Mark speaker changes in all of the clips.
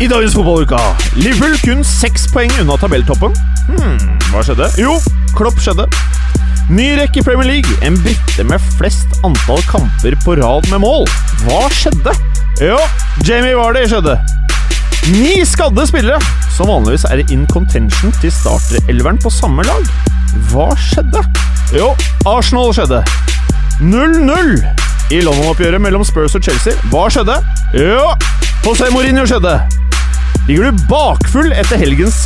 Speaker 1: I dagens fotballuka Liverpool kun seks poeng unna tabelltoppen. Hmm, hva skjedde? Jo, Klopp skjedde. Ny rekke i Premier League. En brite med flest antall kamper på rad med mål. Hva skjedde? Jo, Jamie Vardy skjedde. Ni skadde spillere, som vanligvis er in contention til starterelveren på samme lag. Hva skjedde? Jo, Arsenal skjedde. 0-0 i London-oppgjøret mellom Spurs og Chelsea. Hva skjedde? Jo, José Mourinho skjedde. Ligger du bakfull etter helgens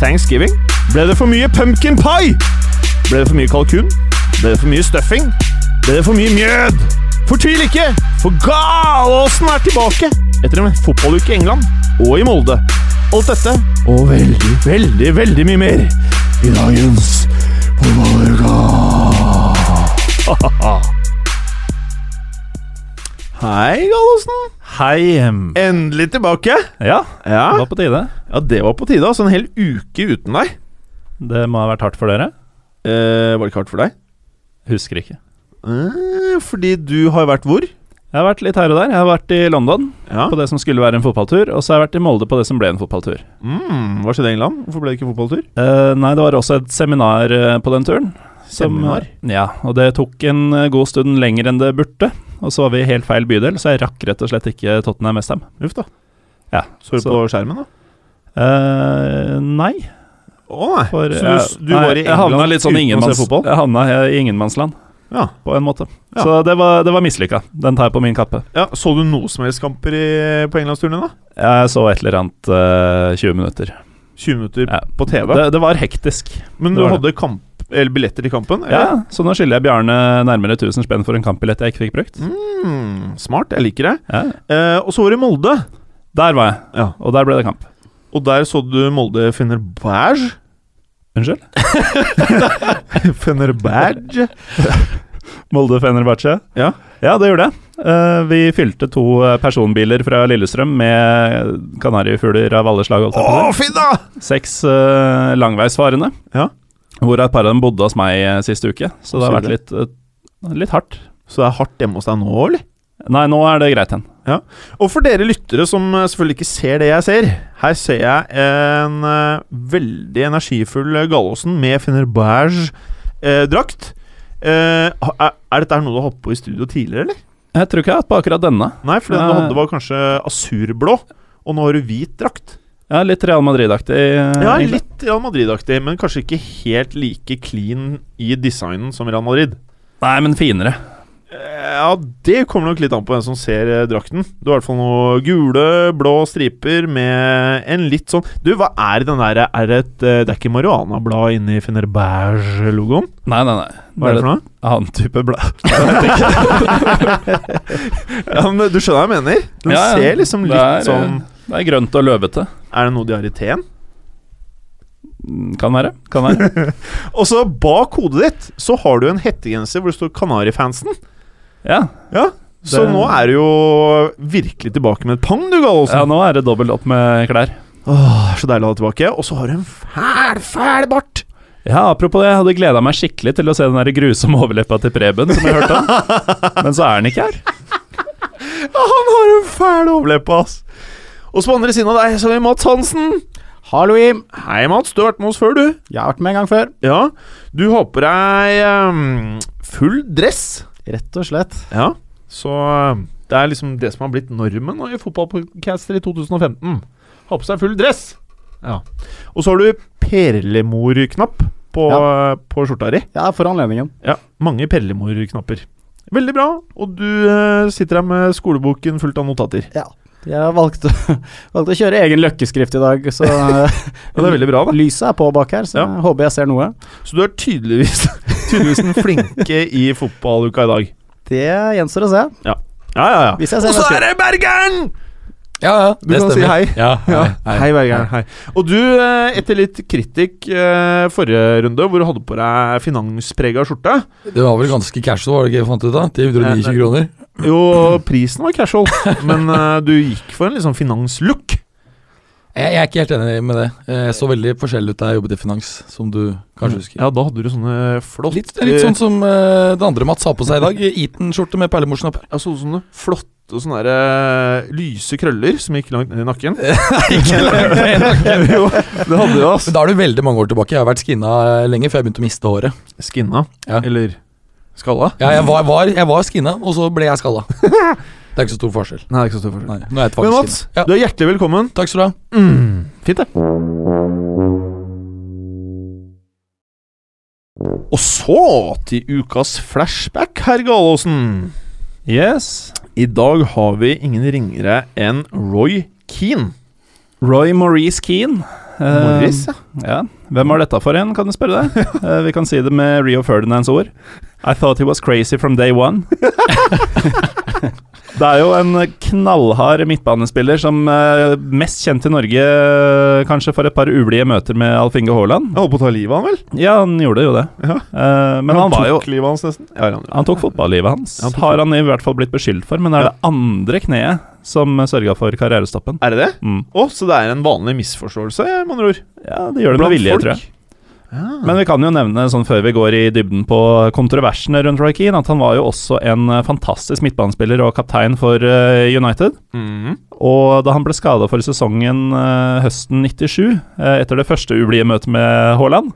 Speaker 1: thanksgiving? Ble det for mye pumpkin pie? Ble det for mye kalkun? Ble det for mye stuffing? Ble det for mye mjød? Fortvil ikke, for Galåsen er tilbake etter en fotballuke i England og i Molde. Alt dette og veldig, veldig, veldig mye mer i dagens Fotballuka. Hei, Galåsen.
Speaker 2: Hei. em.
Speaker 1: Endelig tilbake.
Speaker 2: Ja,
Speaker 1: Ja.
Speaker 2: det var på tide.
Speaker 1: Ja, det var på tide. altså En hel uke uten deg.
Speaker 2: Det må ha vært hardt for dere.
Speaker 1: Eh, var det ikke hardt for deg?
Speaker 2: Husker ikke.
Speaker 1: Eh, fordi du har vært hvor?
Speaker 2: Jeg har vært litt her og der. Jeg har vært i London
Speaker 1: Ja.
Speaker 2: på det som skulle være en fotballtur, og så har jeg vært i Molde på det som ble en fotballtur.
Speaker 1: Mm, hva skjedde i England? Hvorfor ble det ikke fotballtur?
Speaker 2: Eh, nei, det var også et seminar eh, på den turen. som-
Speaker 1: Seminar?
Speaker 2: Ja, og det tok en eh, god stund lenger enn det burde. Og så var vi i helt feil bydel, så jeg rakk rett og slett ikke Tottenham Westham.
Speaker 1: Uff, da.
Speaker 2: Ja,
Speaker 1: Så du
Speaker 2: så-
Speaker 1: på skjermen, da?
Speaker 2: Uh, nei.
Speaker 1: Å eh, nei.
Speaker 2: For,
Speaker 1: så
Speaker 2: jeg-
Speaker 1: du, du
Speaker 2: nei,
Speaker 1: var i
Speaker 2: jeg havna
Speaker 1: England
Speaker 2: litt sånn i
Speaker 1: uten å se
Speaker 2: ingenmanns,
Speaker 1: fotball?
Speaker 2: jeg havna eh, i ingenmannsland,
Speaker 1: Ja.
Speaker 2: på en måte.
Speaker 1: Ja.
Speaker 2: Så det var, det var mislykka. Den tar jeg på min kappe.
Speaker 1: ja. Så du noe som helst kamper i, på Englandsturen din, da?
Speaker 2: Jeg så et eller annet eh, 20 minutter.
Speaker 1: 20 minutter
Speaker 2: Ja.
Speaker 1: på TV?
Speaker 2: Det, det var hektisk.
Speaker 1: Men
Speaker 2: det
Speaker 1: du
Speaker 2: var
Speaker 1: hadde kamp, eller billetter til kampen?
Speaker 2: Ja,
Speaker 1: Eller?
Speaker 2: Så nå skylder jeg Bjarne nærmere 1000 spenn for en kampbillett jeg ikke fikk brukt.
Speaker 1: Mm, smart. Jeg liker det.
Speaker 2: Ja.
Speaker 1: Eh, og så var det Molde.
Speaker 2: Der var jeg,
Speaker 1: Ja.
Speaker 2: og der ble det kamp.
Speaker 1: Og der så du Molde Fenerbæsj.
Speaker 2: Unnskyld?
Speaker 1: Fenerbæsj?
Speaker 2: Molde Fenerbahçe.
Speaker 1: Ja.
Speaker 2: ja, det gjorde jeg. Eh, vi fylte to eh, personbiler fra Lillestrøm med kanarifugler av alle slag. holdt jeg
Speaker 1: Å,
Speaker 2: på å
Speaker 1: fint, da!
Speaker 2: si. Seks eh, langveisfarende,
Speaker 1: Ja.
Speaker 2: hvor et par av dem bodde hos meg eh, siste uke. Så det har vært litt, eh, litt hardt.
Speaker 1: Så det er hardt hjemme hos deg nå, eller?
Speaker 2: Nei, nå er det greit igjen.
Speaker 1: Og for dere lyttere som eh, selvfølgelig ikke ser det jeg ser Her ser jeg en eh, veldig energifull eh, Gallåsen med eh, Fenerbahçe-drakt. Eh, er, er dette her noe du har hatt på i studio tidligere, eller?
Speaker 2: Jeg tror ikke jeg har hatt på akkurat denne.
Speaker 1: Nei, for den du
Speaker 2: Nei.
Speaker 1: hadde var kanskje asurblå, og nå har du hvit drakt.
Speaker 2: Ja, Litt Real Madrid-aktig. eh,
Speaker 1: Ja,
Speaker 2: egentlig.
Speaker 1: litt Real Madrid-aktig, men kanskje ikke helt like clean i designen som Real Madrid.
Speaker 2: Nei, men finere.
Speaker 1: Eh, Ja, det kommer nok litt an på hvem som ser eh, drakten. Du har i hvert fall noe gule, blå striper med en litt sånn Du, hva er den der Er det et eh, Det er ikke marihuanablad inni Fenerbahçe-logoen?
Speaker 2: Nei, nei, nei.
Speaker 1: Hva er det for noe?
Speaker 2: et Annen type blad.
Speaker 1: Ja, men Du skjønner hva jeg mener? Den
Speaker 2: Ja, ja.
Speaker 1: ser liksom
Speaker 2: Det
Speaker 1: litt
Speaker 2: er, eh,
Speaker 1: sånn
Speaker 2: Det er grønt og løvete.
Speaker 1: Er det noe de har i teen?
Speaker 2: Mm, Kan være. Kan være.
Speaker 1: Og så bak hodet ditt så har du en hettegenser hvor det står Kanarifansen.
Speaker 2: Ja.
Speaker 1: Ja, så
Speaker 2: Det-
Speaker 1: nå er du jo virkelig tilbake med et pang, du, Gallosen.
Speaker 2: ja, nå er det dobbelt opp med klær.
Speaker 1: Åh, så deilig å ha deg tilbake. Og så har du en fæl, fæl bart!
Speaker 2: Ja, apropos det, jeg hadde gleda meg skikkelig til å se den der grusomme overleppa til Preben som jeg hørte om, men så er den ikke her.
Speaker 1: Ja, han har en fæl overleppe, ass. Og så på andre siden av deg så har vi Mats Hansen.
Speaker 3: Hallo, Jim.
Speaker 1: Hei, Mats. Du har vært med oss før, du.
Speaker 3: Jeg har vært med en gang før.
Speaker 1: Ja. Du har på deg ehm, full dress.
Speaker 3: Rett og slett.
Speaker 1: Ja. Så ehm, det er liksom det som har blitt normen nå i fotballpodcaster i 2015. Ha på seg full dress. Ja. Og så har du perlemorknapp på, på skjorta di.
Speaker 3: Jeg er for anledningen.
Speaker 1: Ja, mange perlemorknapper. Veldig bra. Og du eh, sitter her med skoleboken fullt av notater.
Speaker 3: Jeg valgte, valgte å kjøre egen løkkeskrift i dag, så eh,
Speaker 1: Ja, det er veldig bra, da.
Speaker 3: lyset er på bak her, så
Speaker 1: Ja.
Speaker 3: jeg håper jeg ser noe.
Speaker 1: Så du er tydeligvis, tydeligvis den flinke i fotballuka i dag.
Speaker 3: Det gjenstår å se.
Speaker 1: Ja, ja, ja.
Speaker 3: Hvis jeg ser
Speaker 1: Og så
Speaker 3: mennesker.
Speaker 1: er det Bergeren!
Speaker 4: Ja, ja,
Speaker 1: Du kan si hei.
Speaker 4: Ja, hei,
Speaker 1: Ja.
Speaker 4: hei.
Speaker 1: Hei, Bergeren. Hei. Og du, eh, etter litt kritikk eh, forrige runde, hvor du hadde på deg finansprega skjorte
Speaker 4: Det var vel ganske casual, var det ikke jeg fant ut av? Til 129 kroner.
Speaker 1: Jo, prisen var casual, men eh, du gikk for en litt sånn finanslook.
Speaker 4: Jeg, jeg er ikke helt enig med det. Eh, Jeg så veldig forskjellig ut da jeg jobbet i finans, som du kanskje husker.
Speaker 1: Mm. Ja, da hadde du sånne flotte
Speaker 4: Litt, litt sånn som eh, det andre Mats har på seg i dag. Eton-skjorte med perlemorsknapper.
Speaker 1: eh, Ja, så, sånne flotte sånne der, eh, lyse krøller som gikk langt ned i nakken. jo, det hadde du, ass.
Speaker 4: Men da er du veldig mange år tilbake. Jeg har vært skinna eh, lenge før jeg begynte å miste håret.
Speaker 1: Skinna.
Speaker 4: Ja.
Speaker 1: Eller skalla.
Speaker 4: Ja, jeg var, var, jeg var skinna, og så ble jeg skalla. Det er ikke så stor forskjell.
Speaker 1: Nei, det er ikke så stor forskjell.
Speaker 4: Nei, nå er
Speaker 1: Men
Speaker 4: jeg faktisk
Speaker 1: Mats,
Speaker 4: skinna. Ja.
Speaker 1: du er hjertelig velkommen. Mm.
Speaker 4: Takk skal du ha.
Speaker 1: Fint, det. Og så til ukas flashback, herr Galaasen.
Speaker 2: Yes.
Speaker 1: I dag har vi ingen ringere enn Roy Keane.
Speaker 2: Roy Maurice Keane. Eh,
Speaker 1: Morris, ja.
Speaker 2: ja. Hvem var dette for en, kan du spørre deg? Eh, vi kan si det med Rio Ferdinands ord. I thought he was crazy from day one. det er jo en knallhard midtbanespiller som eh, mest kjent i Norge eh, kanskje for et par ublide møter med Alf Inge Haaland.
Speaker 1: Jeg holdt på å ta livet av han, vel?
Speaker 2: Ja, han gjorde jo det.
Speaker 1: Ja.
Speaker 2: Eh, men han, var jo
Speaker 1: tok livet hans nesten. Ja, han,
Speaker 2: Han tok fotballivet hans,
Speaker 1: Ja, han tok
Speaker 2: har han i hvert fall blitt beskyldt for, men det er
Speaker 1: Ja.
Speaker 2: det andre kneet som sørga for karrierestoppen.
Speaker 1: Er det det?
Speaker 2: Mm.
Speaker 1: Å, så det er en vanlig misforståelse, ja, med andre ord.
Speaker 2: Ja, det gjør det med vilje, tror jeg. Men vi kan jo nevne, sånn før vi går i dybden på kontroversene rundt Roy Keane, at han var jo også en eh, fantastisk midtbanespiller og kaptein for eh, United.
Speaker 1: Mhm.
Speaker 2: Og da han ble skada for sesongen eh, høsten 97, eh, etter det første ublide møtet med Haaland,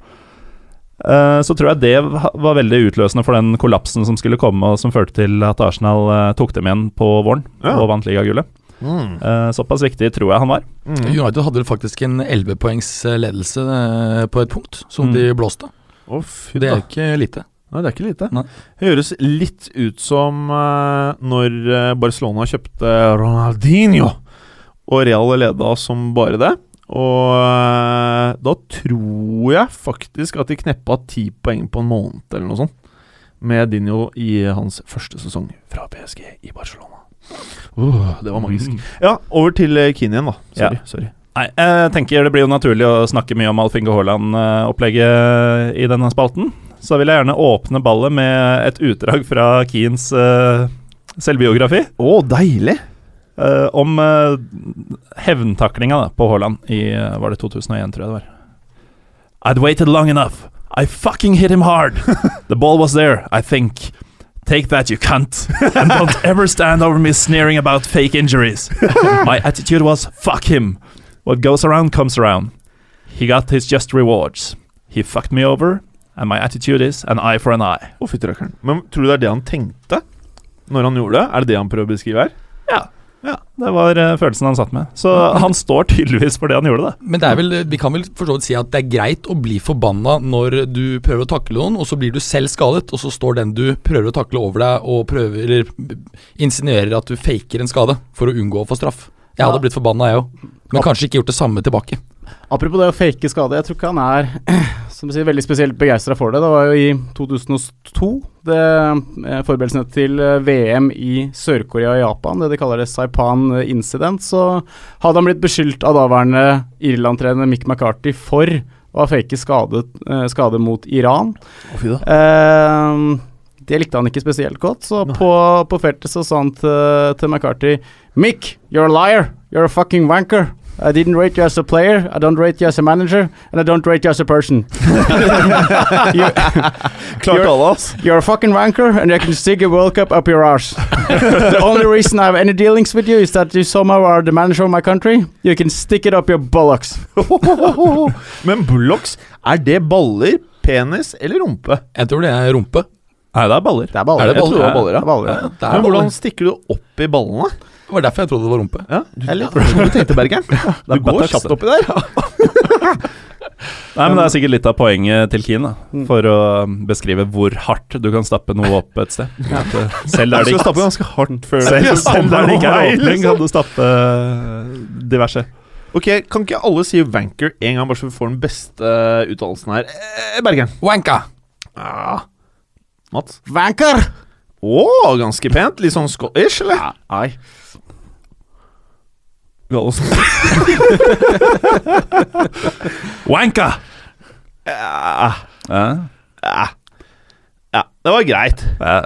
Speaker 2: eh, så tror jeg det va- var veldig utløsende for den kollapsen som skulle komme, og som førte til at Arsenal eh, tok dem igjen på våren
Speaker 1: Ja.
Speaker 2: og vant ligagullet.
Speaker 1: Mm.
Speaker 2: Eh, såpass viktig tror jeg han var.
Speaker 1: Mm.
Speaker 4: United hadde vel faktisk en 11 poengs ledelse eh, på et punkt, som
Speaker 2: Mm.
Speaker 4: de blåste.
Speaker 1: Å, fy
Speaker 4: Det
Speaker 1: da.
Speaker 4: er jo ikke lite.
Speaker 1: Nei, det er ikke lite.
Speaker 4: Nei.
Speaker 1: Det høres litt ut som eh, når eh, Barcelona kjøpte Ronaldinho, og Real leda som bare det. Og eh, da tror jeg faktisk at de kneppa ti poeng på en måned eller noe sånt. Med Dinho i hans første sesong fra PSG i Barcelona. Uh, det var magisk. Ja, over til eh, Keane igjen, da. Sorry.
Speaker 2: Ja.
Speaker 1: sorry.
Speaker 2: Nei, jeg tenker det blir jo naturlig å snakke mye om Alf Inge Haaland-opplegget eh, i denne spalten. Så vil jeg gjerne åpne ballet med et utdrag fra Keanes eh, selvbiografi
Speaker 1: Å, deilig!
Speaker 2: eh, om uh, hevntaklinga da, på Haaland i eh, Var det 2001, tror jeg det var. I'd waited long enough. I fucking hit him hard. The ball was there, I think. Take that, you cunt. And don't ever stand over me sneering about fake injuries. My attitude was fuck him. What goes around comes around. He got his just rewards. He fucked me over, and my attitude is an eye for an eye.
Speaker 1: Å, fytti rakkeren. Men tror du det er det han tenkte når han gjorde det? Er det det han prøver å beskrive her?
Speaker 2: Det var eh, følelsen han satt med. Så han står tydeligvis for det han gjorde, da.
Speaker 4: Men det er vel, vi kan vel for så vidt si at det er greit å bli forbanna når du prøver å takle noen, og så blir du selv skadet, og så står den du prøver å takle over deg og prøver, eller insinuerer at du faker en skade for å unngå å få straff. Jeg
Speaker 3: Ja.
Speaker 4: hadde blitt forbanna, jeg òg. Men kanskje ikke gjort det samme tilbake.
Speaker 3: Apropos det å fake skade, jeg tror ikke han er som du sier, veldig spesielt begeistra for det. Det var jo i 2002, det, eh, forberedelsene til eh, VM i Sør-Korea og Japan, det de kaller det Saipan eh, Incident, så hadde han blitt beskyldt av daværende Irland-trener Mick McCarthy for å ha fake skade, eh, skade mot Iran.
Speaker 1: Å, fy da.
Speaker 3: Eh, det likte han ikke spesielt godt, så
Speaker 1: Nei.
Speaker 3: på, på feltet så sa han til, til McCarthy Mick, you're a liar. You're a fucking wanker. I didn't rate you as a player, I don't rate you as a manager, and I don't rate you as a person. you're,
Speaker 1: Klart
Speaker 3: Gjør-
Speaker 1: alle, ass.
Speaker 3: you're a fucking wanker, and I can stick a World Cup up your arse. the only reason I have any dealings with you is that you somehow are the manager of my country. You can stick it up your bollocks.
Speaker 1: Men bullocks, er det baller, penis eller rumpe?
Speaker 4: Jeg tror det er rumpe.
Speaker 2: Nei, det er baller.
Speaker 3: Det er baller.
Speaker 4: Er det
Speaker 1: Jeg tror det
Speaker 4: baller?
Speaker 1: var baller,
Speaker 3: Det
Speaker 1: ja.
Speaker 3: er
Speaker 4: Ja,
Speaker 3: baller.
Speaker 4: det er
Speaker 1: Men hvordan
Speaker 4: baller.
Speaker 1: stikker du opp i ballene?
Speaker 4: Det var derfor jeg trodde det var rumpe.
Speaker 1: Ja, du,
Speaker 3: Jeg er litt-
Speaker 1: du tenkte, Bergeren. Du går
Speaker 2: er buttock,
Speaker 1: kjapt oppi der.
Speaker 2: Nei, men Det er sikkert litt av poenget til Keane, da,
Speaker 1: Mm.
Speaker 2: for å um, beskrive hvor hardt du kan stappe noe opp et sted. At, uh, Selv der
Speaker 1: Du
Speaker 2: det
Speaker 1: skal stappe
Speaker 2: ikke,
Speaker 1: ganske hardt før
Speaker 2: selv, selv der det ikke er
Speaker 1: Nei,
Speaker 2: åpning,
Speaker 1: liksom.
Speaker 2: kan du stappe uh, diverse.
Speaker 1: Ok, Kan ikke alle si wanker en gang, bare så vi får den beste uttalelsen her? Eh, Bergeren.
Speaker 4: Wanka!
Speaker 1: Ah. Mats?
Speaker 3: Wanker!
Speaker 1: Å, ganske pent. Litt sånn scottish, eller?
Speaker 3: Nei.
Speaker 2: Gallosen. Wanka!
Speaker 1: Ja,
Speaker 2: Ja.
Speaker 1: ja. ja, det var greit.
Speaker 2: Ja.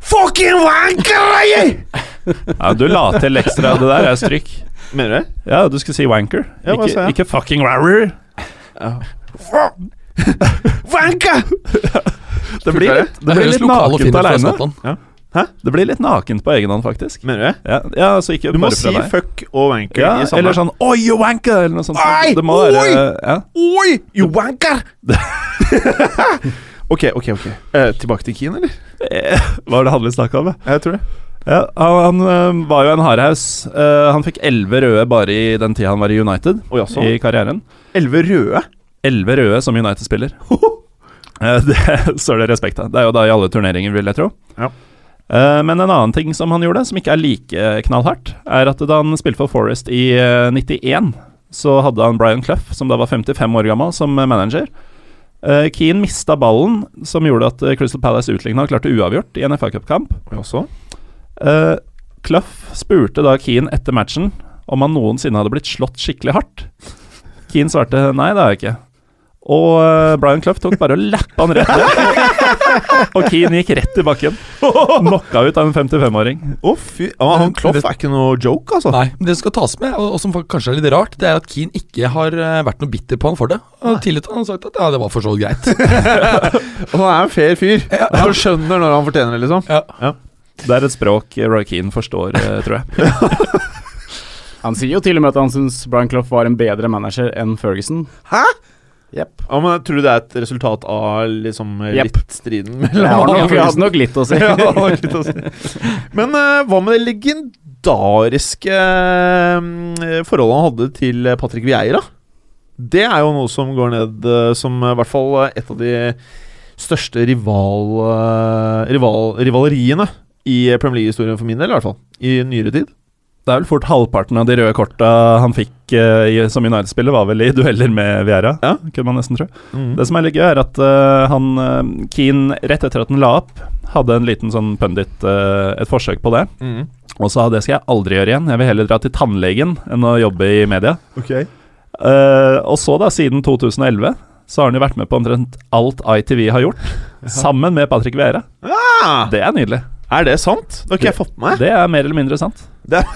Speaker 1: Fucking wanker!
Speaker 2: Ja, du la til ekstra. Det der er stryk.
Speaker 1: Mener du det?
Speaker 2: Ja, du skulle si wanker.
Speaker 1: Ja, hva sa
Speaker 2: ikke,
Speaker 1: jeg?
Speaker 2: ikke fucking rarrer.
Speaker 1: Wanker!
Speaker 2: Det blir litt, det blir
Speaker 4: høres
Speaker 2: litt
Speaker 4: lokal og fin
Speaker 2: nakent
Speaker 4: ut fra
Speaker 2: alene.
Speaker 4: Skottland.
Speaker 2: Det blir litt nakent på egen hånd, faktisk.
Speaker 1: Mener du det?
Speaker 2: Ja, ja altså ikke
Speaker 1: Du må
Speaker 2: bare
Speaker 1: si
Speaker 2: fra deg.
Speaker 1: fuck og wanker
Speaker 2: Ja,
Speaker 1: i samme
Speaker 2: eller sånn Oi, you wanker! Eller noe sånt.
Speaker 1: Oi,
Speaker 2: det må være ja.
Speaker 1: Oi, you wanker! ok, ok, ok. Eh, tilbake til Keen, eller?
Speaker 2: Eh, Hva var det Hanne snakka om? ja?
Speaker 1: Jeg tror det.
Speaker 2: Ja, han han eh, var jo en hardhaus. Eh, han fikk elleve røde bare i den tida han var i United,
Speaker 1: Å sånn. jaså.
Speaker 2: i karrieren.
Speaker 1: Elleve røde.
Speaker 2: Elleve røde som United-spiller. Eh, det står det respekt av. Det er jo da i alle turneringer, vil jeg tro.
Speaker 1: Ja.
Speaker 2: Eh, Men en annen ting som han gjorde, som ikke er like eh, knallhardt, er at da han spilte for Forest i eh, 91, så hadde han Brian Clough, som da var 55 år gammel, som eh, manager. Eh, Keane mista ballen, som gjorde at eh, Crystal Palace utligna og klarte uavgjort i en FA Cup-kamp.
Speaker 1: Jaså?
Speaker 2: Eh, Clough spurte da Keane etter matchen om han noensinne hadde blitt slått skikkelig hardt. Keane svarte nei, det har jeg ikke. Og eh, Brian Clough tok bare og lappa han rett ned. Og Keane gikk rett i bakken. Knocka ut av en 55-åring.
Speaker 1: Å, fy ah, Han Kloff er ikke noe joke, altså.
Speaker 4: Nei, men det som skal tas med, og, og som fa- kanskje er litt rart, det er at Keane ikke har eh, vært noe bitter på han for det. Han har tillit han har sagt at ja, det var for så vidt greit.
Speaker 1: Han er en fair fyr. Han skjønner når han fortjener det, liksom.
Speaker 2: Det er et språk eh, Roy Keane forstår, eh, tror jeg.
Speaker 3: Han sier jo til og med at han syns Brian Clough var en bedre manager enn Ferguson.
Speaker 1: Hæ?
Speaker 3: Jepp.
Speaker 1: Ja, men Tror du det er et resultat av liksom eh,
Speaker 3: Jepp.
Speaker 1: litt striden
Speaker 3: Jeg
Speaker 1: mellom
Speaker 3: har
Speaker 1: han og
Speaker 3: nok, jeg
Speaker 1: Ferguson?
Speaker 3: hadde nok litt å si.
Speaker 1: Ja, det var litt å si. Men eh, hva med det legendariske eh, forholdet han hadde til eh, Patrick Vieira? Det er jo noe som går ned eh, som eh, i hvert fall eh, et av de største rival, eh, rival, rivaleriene i eh, Premier League-historien for min del, i hvert fall. I nyere tid.
Speaker 2: Det er vel fort halvparten av de røde korta han fikk eh, i, som United-spiller, var vel i dueller med Viera,
Speaker 1: Ja.
Speaker 2: kunne man nesten tro.
Speaker 1: Mm.
Speaker 2: Det som er litt gøy, er at eh, han eh, Keane, rett etter at han la opp, hadde en liten sånn pundit, eh, et forsøk på det.
Speaker 1: Mm.
Speaker 2: Og sa det skal jeg aldri gjøre igjen, jeg vil heller dra til tannlegen enn å jobbe i media.
Speaker 1: Okay.
Speaker 2: Eh, og så, da, siden 2011, så har han jo vært med på omtrent alt ITV har gjort, sammen med Patrick Viera.
Speaker 1: Ah,
Speaker 2: Det er nydelig.
Speaker 1: er det sant? Det har ikke jeg fått med meg.
Speaker 2: Det er mer eller mindre sant.
Speaker 4: Men,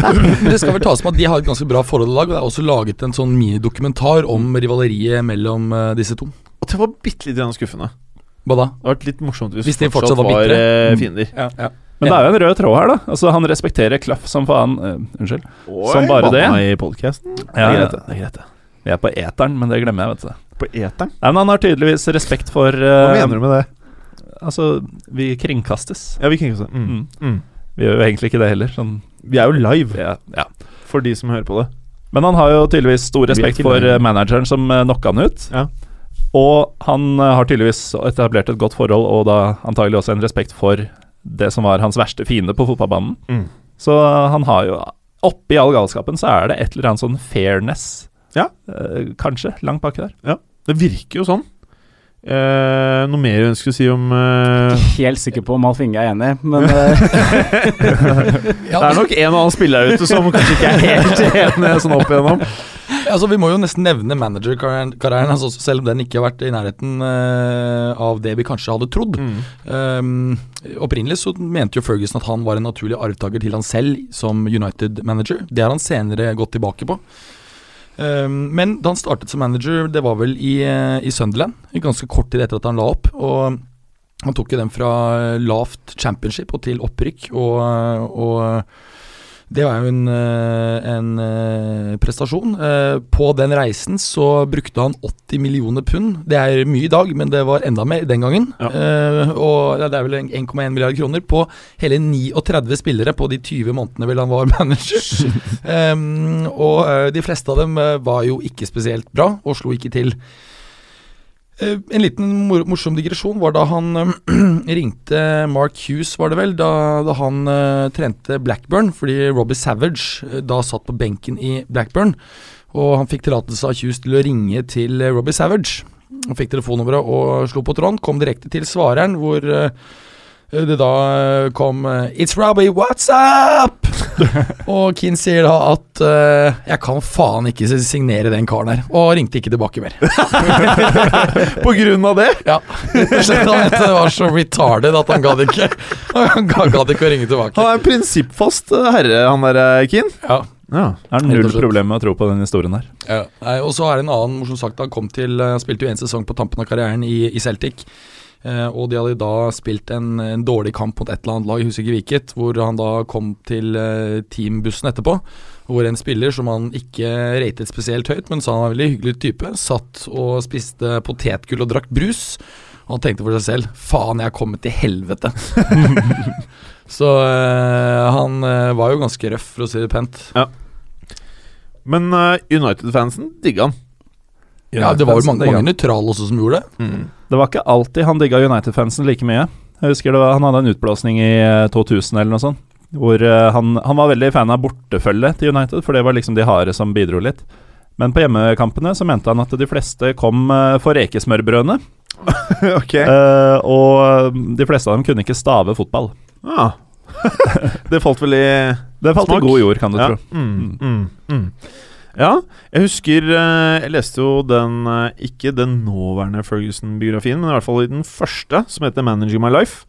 Speaker 4: men det skal vel tas med at de har et ganske bra forhold i lag, og det er også laget en sånn minidokumentar om rivaleriet mellom eh, disse to.
Speaker 1: Og det var bitte litt grann skuffende.
Speaker 4: Hva da?
Speaker 1: Det hadde vært litt morsomt hvis,
Speaker 4: Hvis de fortsatt var bitre.
Speaker 1: eh, fiender.
Speaker 2: Men det er jo en rød tråd her, da. Altså, han respekterer Klaff som faen. eh, unnskyld.
Speaker 1: Oi,
Speaker 2: Som bare det.
Speaker 1: banna I podcasten.
Speaker 2: Ja,
Speaker 1: det
Speaker 2: ja.
Speaker 1: er greit, det. det er greit, det.
Speaker 2: Vi er på eteren, men det glemmer jeg, vet du.
Speaker 1: På eteren?
Speaker 2: Nei, men han har tydeligvis respekt for
Speaker 1: Hva
Speaker 2: eh,
Speaker 1: mener du med det?
Speaker 2: Altså, vi kringkastes.
Speaker 1: Ja, vi kringkaster. Mm.
Speaker 2: Mm. Vi gjør jo egentlig ikke det heller. Sånn,
Speaker 1: Vi er jo live,
Speaker 2: ja, ja.
Speaker 1: for de som hører på det.
Speaker 2: Men han har jo tydeligvis stor
Speaker 1: er
Speaker 2: respekt
Speaker 1: ikke
Speaker 2: for
Speaker 1: nøye.
Speaker 2: eh, manageren som eh, knocka han ut.
Speaker 1: Ja.
Speaker 2: Og han eh, har tydeligvis etablert et godt forhold og da antagelig også en respekt for det som var hans verste fiende på fotballbanen.
Speaker 1: Mm.
Speaker 2: Så eh, han har jo Oppi all galskapen så er det et eller annet sånn fairness,
Speaker 1: Ja.
Speaker 2: Eh, kanskje, langt baki der.
Speaker 1: Det virker jo sånn. Eh, noe mer jeg ønsker å si om eh,
Speaker 3: Helt sikker på om Alf Inge er enig, men eh,
Speaker 4: Ja,
Speaker 1: Det er nok en og annen spiller der ute som kanskje ikke er helt enig sånn opp igjennom.
Speaker 4: altså, vi må jo nesten nevne managerkarrieren, altså, selv om den ikke har vært i nærheten eh, av det vi kanskje hadde trodd. Ehm, opprinnelig så mente jo Ferguson at han var en naturlig arvtaker til han selv som United-manager. Det har han senere gått tilbake på. Ehm, men da han startet som manager, det var vel i, eh, i Sunderland, ganske kort tid etter at han la opp. og han tok jo dem fra eh, lavt championship og til opprykk, og, og det var jo en, eh, en eh, prestasjon. Eh, På den reisen så brukte han 80 millioner pund. Det er mye i dag, men det var enda mer den gangen.
Speaker 1: Ja.
Speaker 4: Eh, Og ja, det er vel en- 1,1 milliard kroner på hele 39 spillere på de 20 månedene vel han var manager. Em, og eh, de fleste av dem eh, var jo ikke spesielt bra, og slo ikke til. Eh, En liten mor morsom digresjon var da han eh, ringte Mark Hughes, var det vel, da, da han eh, trente Blackburn, fordi Robbie Savage eh, da satt på benken i Blackburn. Og han fikk tillatelse av Hughes til å ringe til eh, Robbie Savage. Han fikk telefonnummeret og slo på tråden. Kom direkte til eh, svareren, hvor eh, det da eh, kom eh, It's Robbie, what's up? Og Keane sier da at eh, 'jeg kan faen ikke signere den karen her', og ringte ikke tilbake mer.
Speaker 1: På grunn av det?
Speaker 4: Ja, Rett og slett, han mente det var så retarded at han gadd ikke Han ga- gadd ikke å ringe tilbake.
Speaker 1: Han er en prinsippfast eh, herre, han der eh, Keane.
Speaker 4: Ja,
Speaker 1: Ja.
Speaker 2: Det er
Speaker 4: Rett og
Speaker 2: null
Speaker 4: slett.
Speaker 2: problem med å tro på den historien her.
Speaker 4: ja. Nei, Og så er det en annen morsom sak. da. Han kom til, eh, spilte jo en sesong på tampen av karrieren i, i Celtic. Eh, og de hadde da spilt en, en dårlig kamp mot et eller annet lag, jeg husker ikke hvilket, hvor han da kom til eh, teambussen etterpå. Hvor en spiller som han ikke ratet spesielt høyt, men sa han var en veldig hyggelig type, satt og spiste potetgull og drakk brus. Og han tenkte for seg selv 'faen, jeg er kommet til helvete'. Så eh, han eh, var jo ganske røff, for å si det pent.
Speaker 1: Men eh, United-fansen digga han.
Speaker 4: Ja, Det var jo
Speaker 2: United-fansen
Speaker 4: mange,
Speaker 2: digga
Speaker 4: mange
Speaker 2: han.
Speaker 4: nøytrale også som gjorde det.
Speaker 2: Det var ikke alltid han digga United-fansen like mye. Jeg husker det var, Han hadde en utblåsning i eh, 2000 eller noe sånt. Hvor eh, han, han var veldig fan av bortefølge til United, for det var liksom de harde som bidro litt. Men på hjemmekampene så mente han at de fleste kom eh, for rekesmørbrødene.
Speaker 1: ok.
Speaker 2: eh, og de fleste av dem kunne ikke stave fotball.
Speaker 1: Ja. det falt vel i
Speaker 2: Det falt
Speaker 1: Smak.
Speaker 2: i god jord, kan du
Speaker 1: ja.
Speaker 2: tro.
Speaker 1: Mm, mm, mm. ja, jeg husker eh, Jeg leste jo den eh, Ikke den nåværende Ferguson-biografien, men i hvert fall i den første, som heter 'Managing My Life',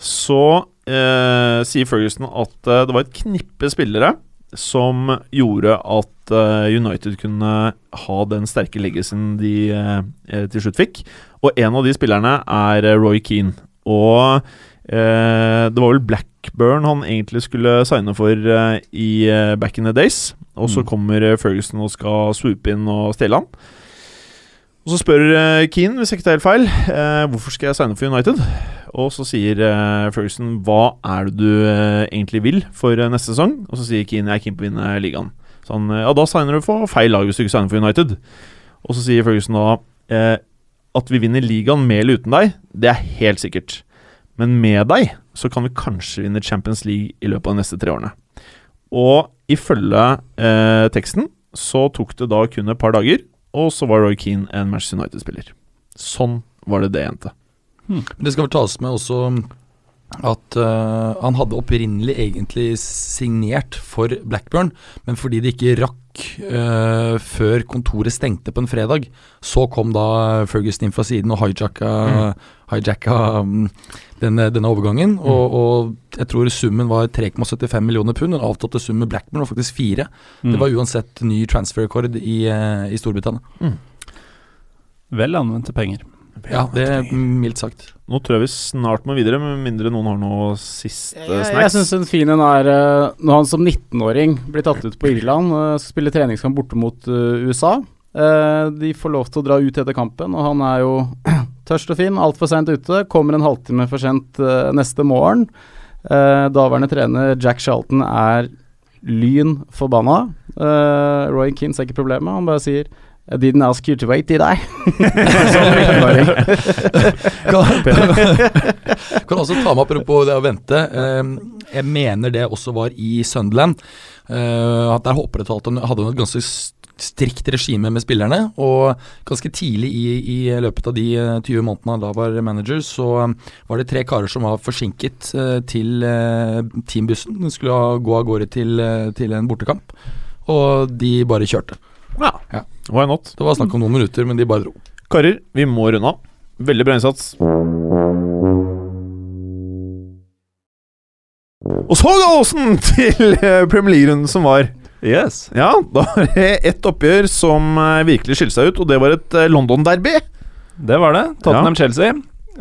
Speaker 1: så eh, sier Ferguson at eh, det var et knippe spillere som gjorde at eh, United kunne ha den sterke legacyen de eh, eh, til slutt fikk. Og en av de spillerne er eh, Roy Keane. Og Eh, det var vel Blackburn han egentlig skulle signe for eh, i eh, Back in the Days. Og så
Speaker 2: Mm.
Speaker 1: kommer eh, Ferguson og skal swoope inn og stjele han. Og så spør eh, Keane, hvis jeg ikke tar helt feil, eh, hvorfor skal jeg signe for United? Og så sier eh, Ferguson, hva er det du eh, egentlig vil for eh, neste sesong? Og så sier Keane, jeg er keen på å vinne ligaen. Så han, eh, ja, da signer du for feil lag hvis du ikke signer for United. Og så sier Ferguson da, eh, at vi vinner ligaen med eller uten deg, det er helt sikkert. Men med deg så kan vi kanskje vinne Champions League i løpet av de neste tre årene. Og ifølge eh, teksten så tok det da kun et par dager, og så var Roy Keane en Manchester United-spiller. Sånn var det det endte.
Speaker 4: Men det skal vel tas med også at eh, han hadde opprinnelig egentlig signert for Blackburn, men fordi det ikke rakk eh, før kontoret stengte på en fredag, så kom da Ferguson inn fra siden og hijacka, hijacka mm, denne, denne overgangen. Og, og jeg tror summen var 3,75 millioner pund. Den avtalte summen med Blackburn var faktisk fire. Det var uansett ny transfer-rekord i, eh, i Storbritannia.
Speaker 2: Vel anvendte penger.
Speaker 4: Ja, det er mildt sagt.
Speaker 1: Nå tror jeg vi snart må videre, med mindre noen har noe siste
Speaker 3: Jeg, jeg
Speaker 1: snacks.
Speaker 3: syns en fin en er eh, når han som 19-åring blir tatt ut på Irland, eh, skal spille treningskamp borte mot eh, USA. Eh, de får lov til å dra ut etter kampen, og han er jo tørst og fin, altfor seint ute. Kommer en halvtime for sent eh, neste morgen. Eh, daværende trener Jack Charlton er lyn forbanna. Eh, Roy Keane ser ikke problemet, han bare sier I didn't ask you to wait, did I? Som 19-åring.
Speaker 4: kan, kan også ta med apropos det å vente. eh, Jeg mener det også var i Sunderland. eh, At der håper det talt han hadde et ganske s- strikt regime med spillerne. Og ganske tidlig i, i løpet av de eh, 20 månedene han da var manager, så eh, var det tre karer som var forsinket eh, til eh, teambussen. De skulle ha- gå av gårde til, eh, til en bortekamp. Og de bare kjørte.
Speaker 1: Why not?
Speaker 4: Det var snakk om noen minutter, men de bare dro.
Speaker 1: Karer, vi må runde av. Veldig bra innsats. Og så ga Åsen til eh, Premier League-runden som var.
Speaker 2: Yes.
Speaker 1: Ja, da var det ett oppgjør som eh, virkelig skilte seg ut, og det var et eh, London-derby.
Speaker 2: Det var det. Tottenham-Chelsea.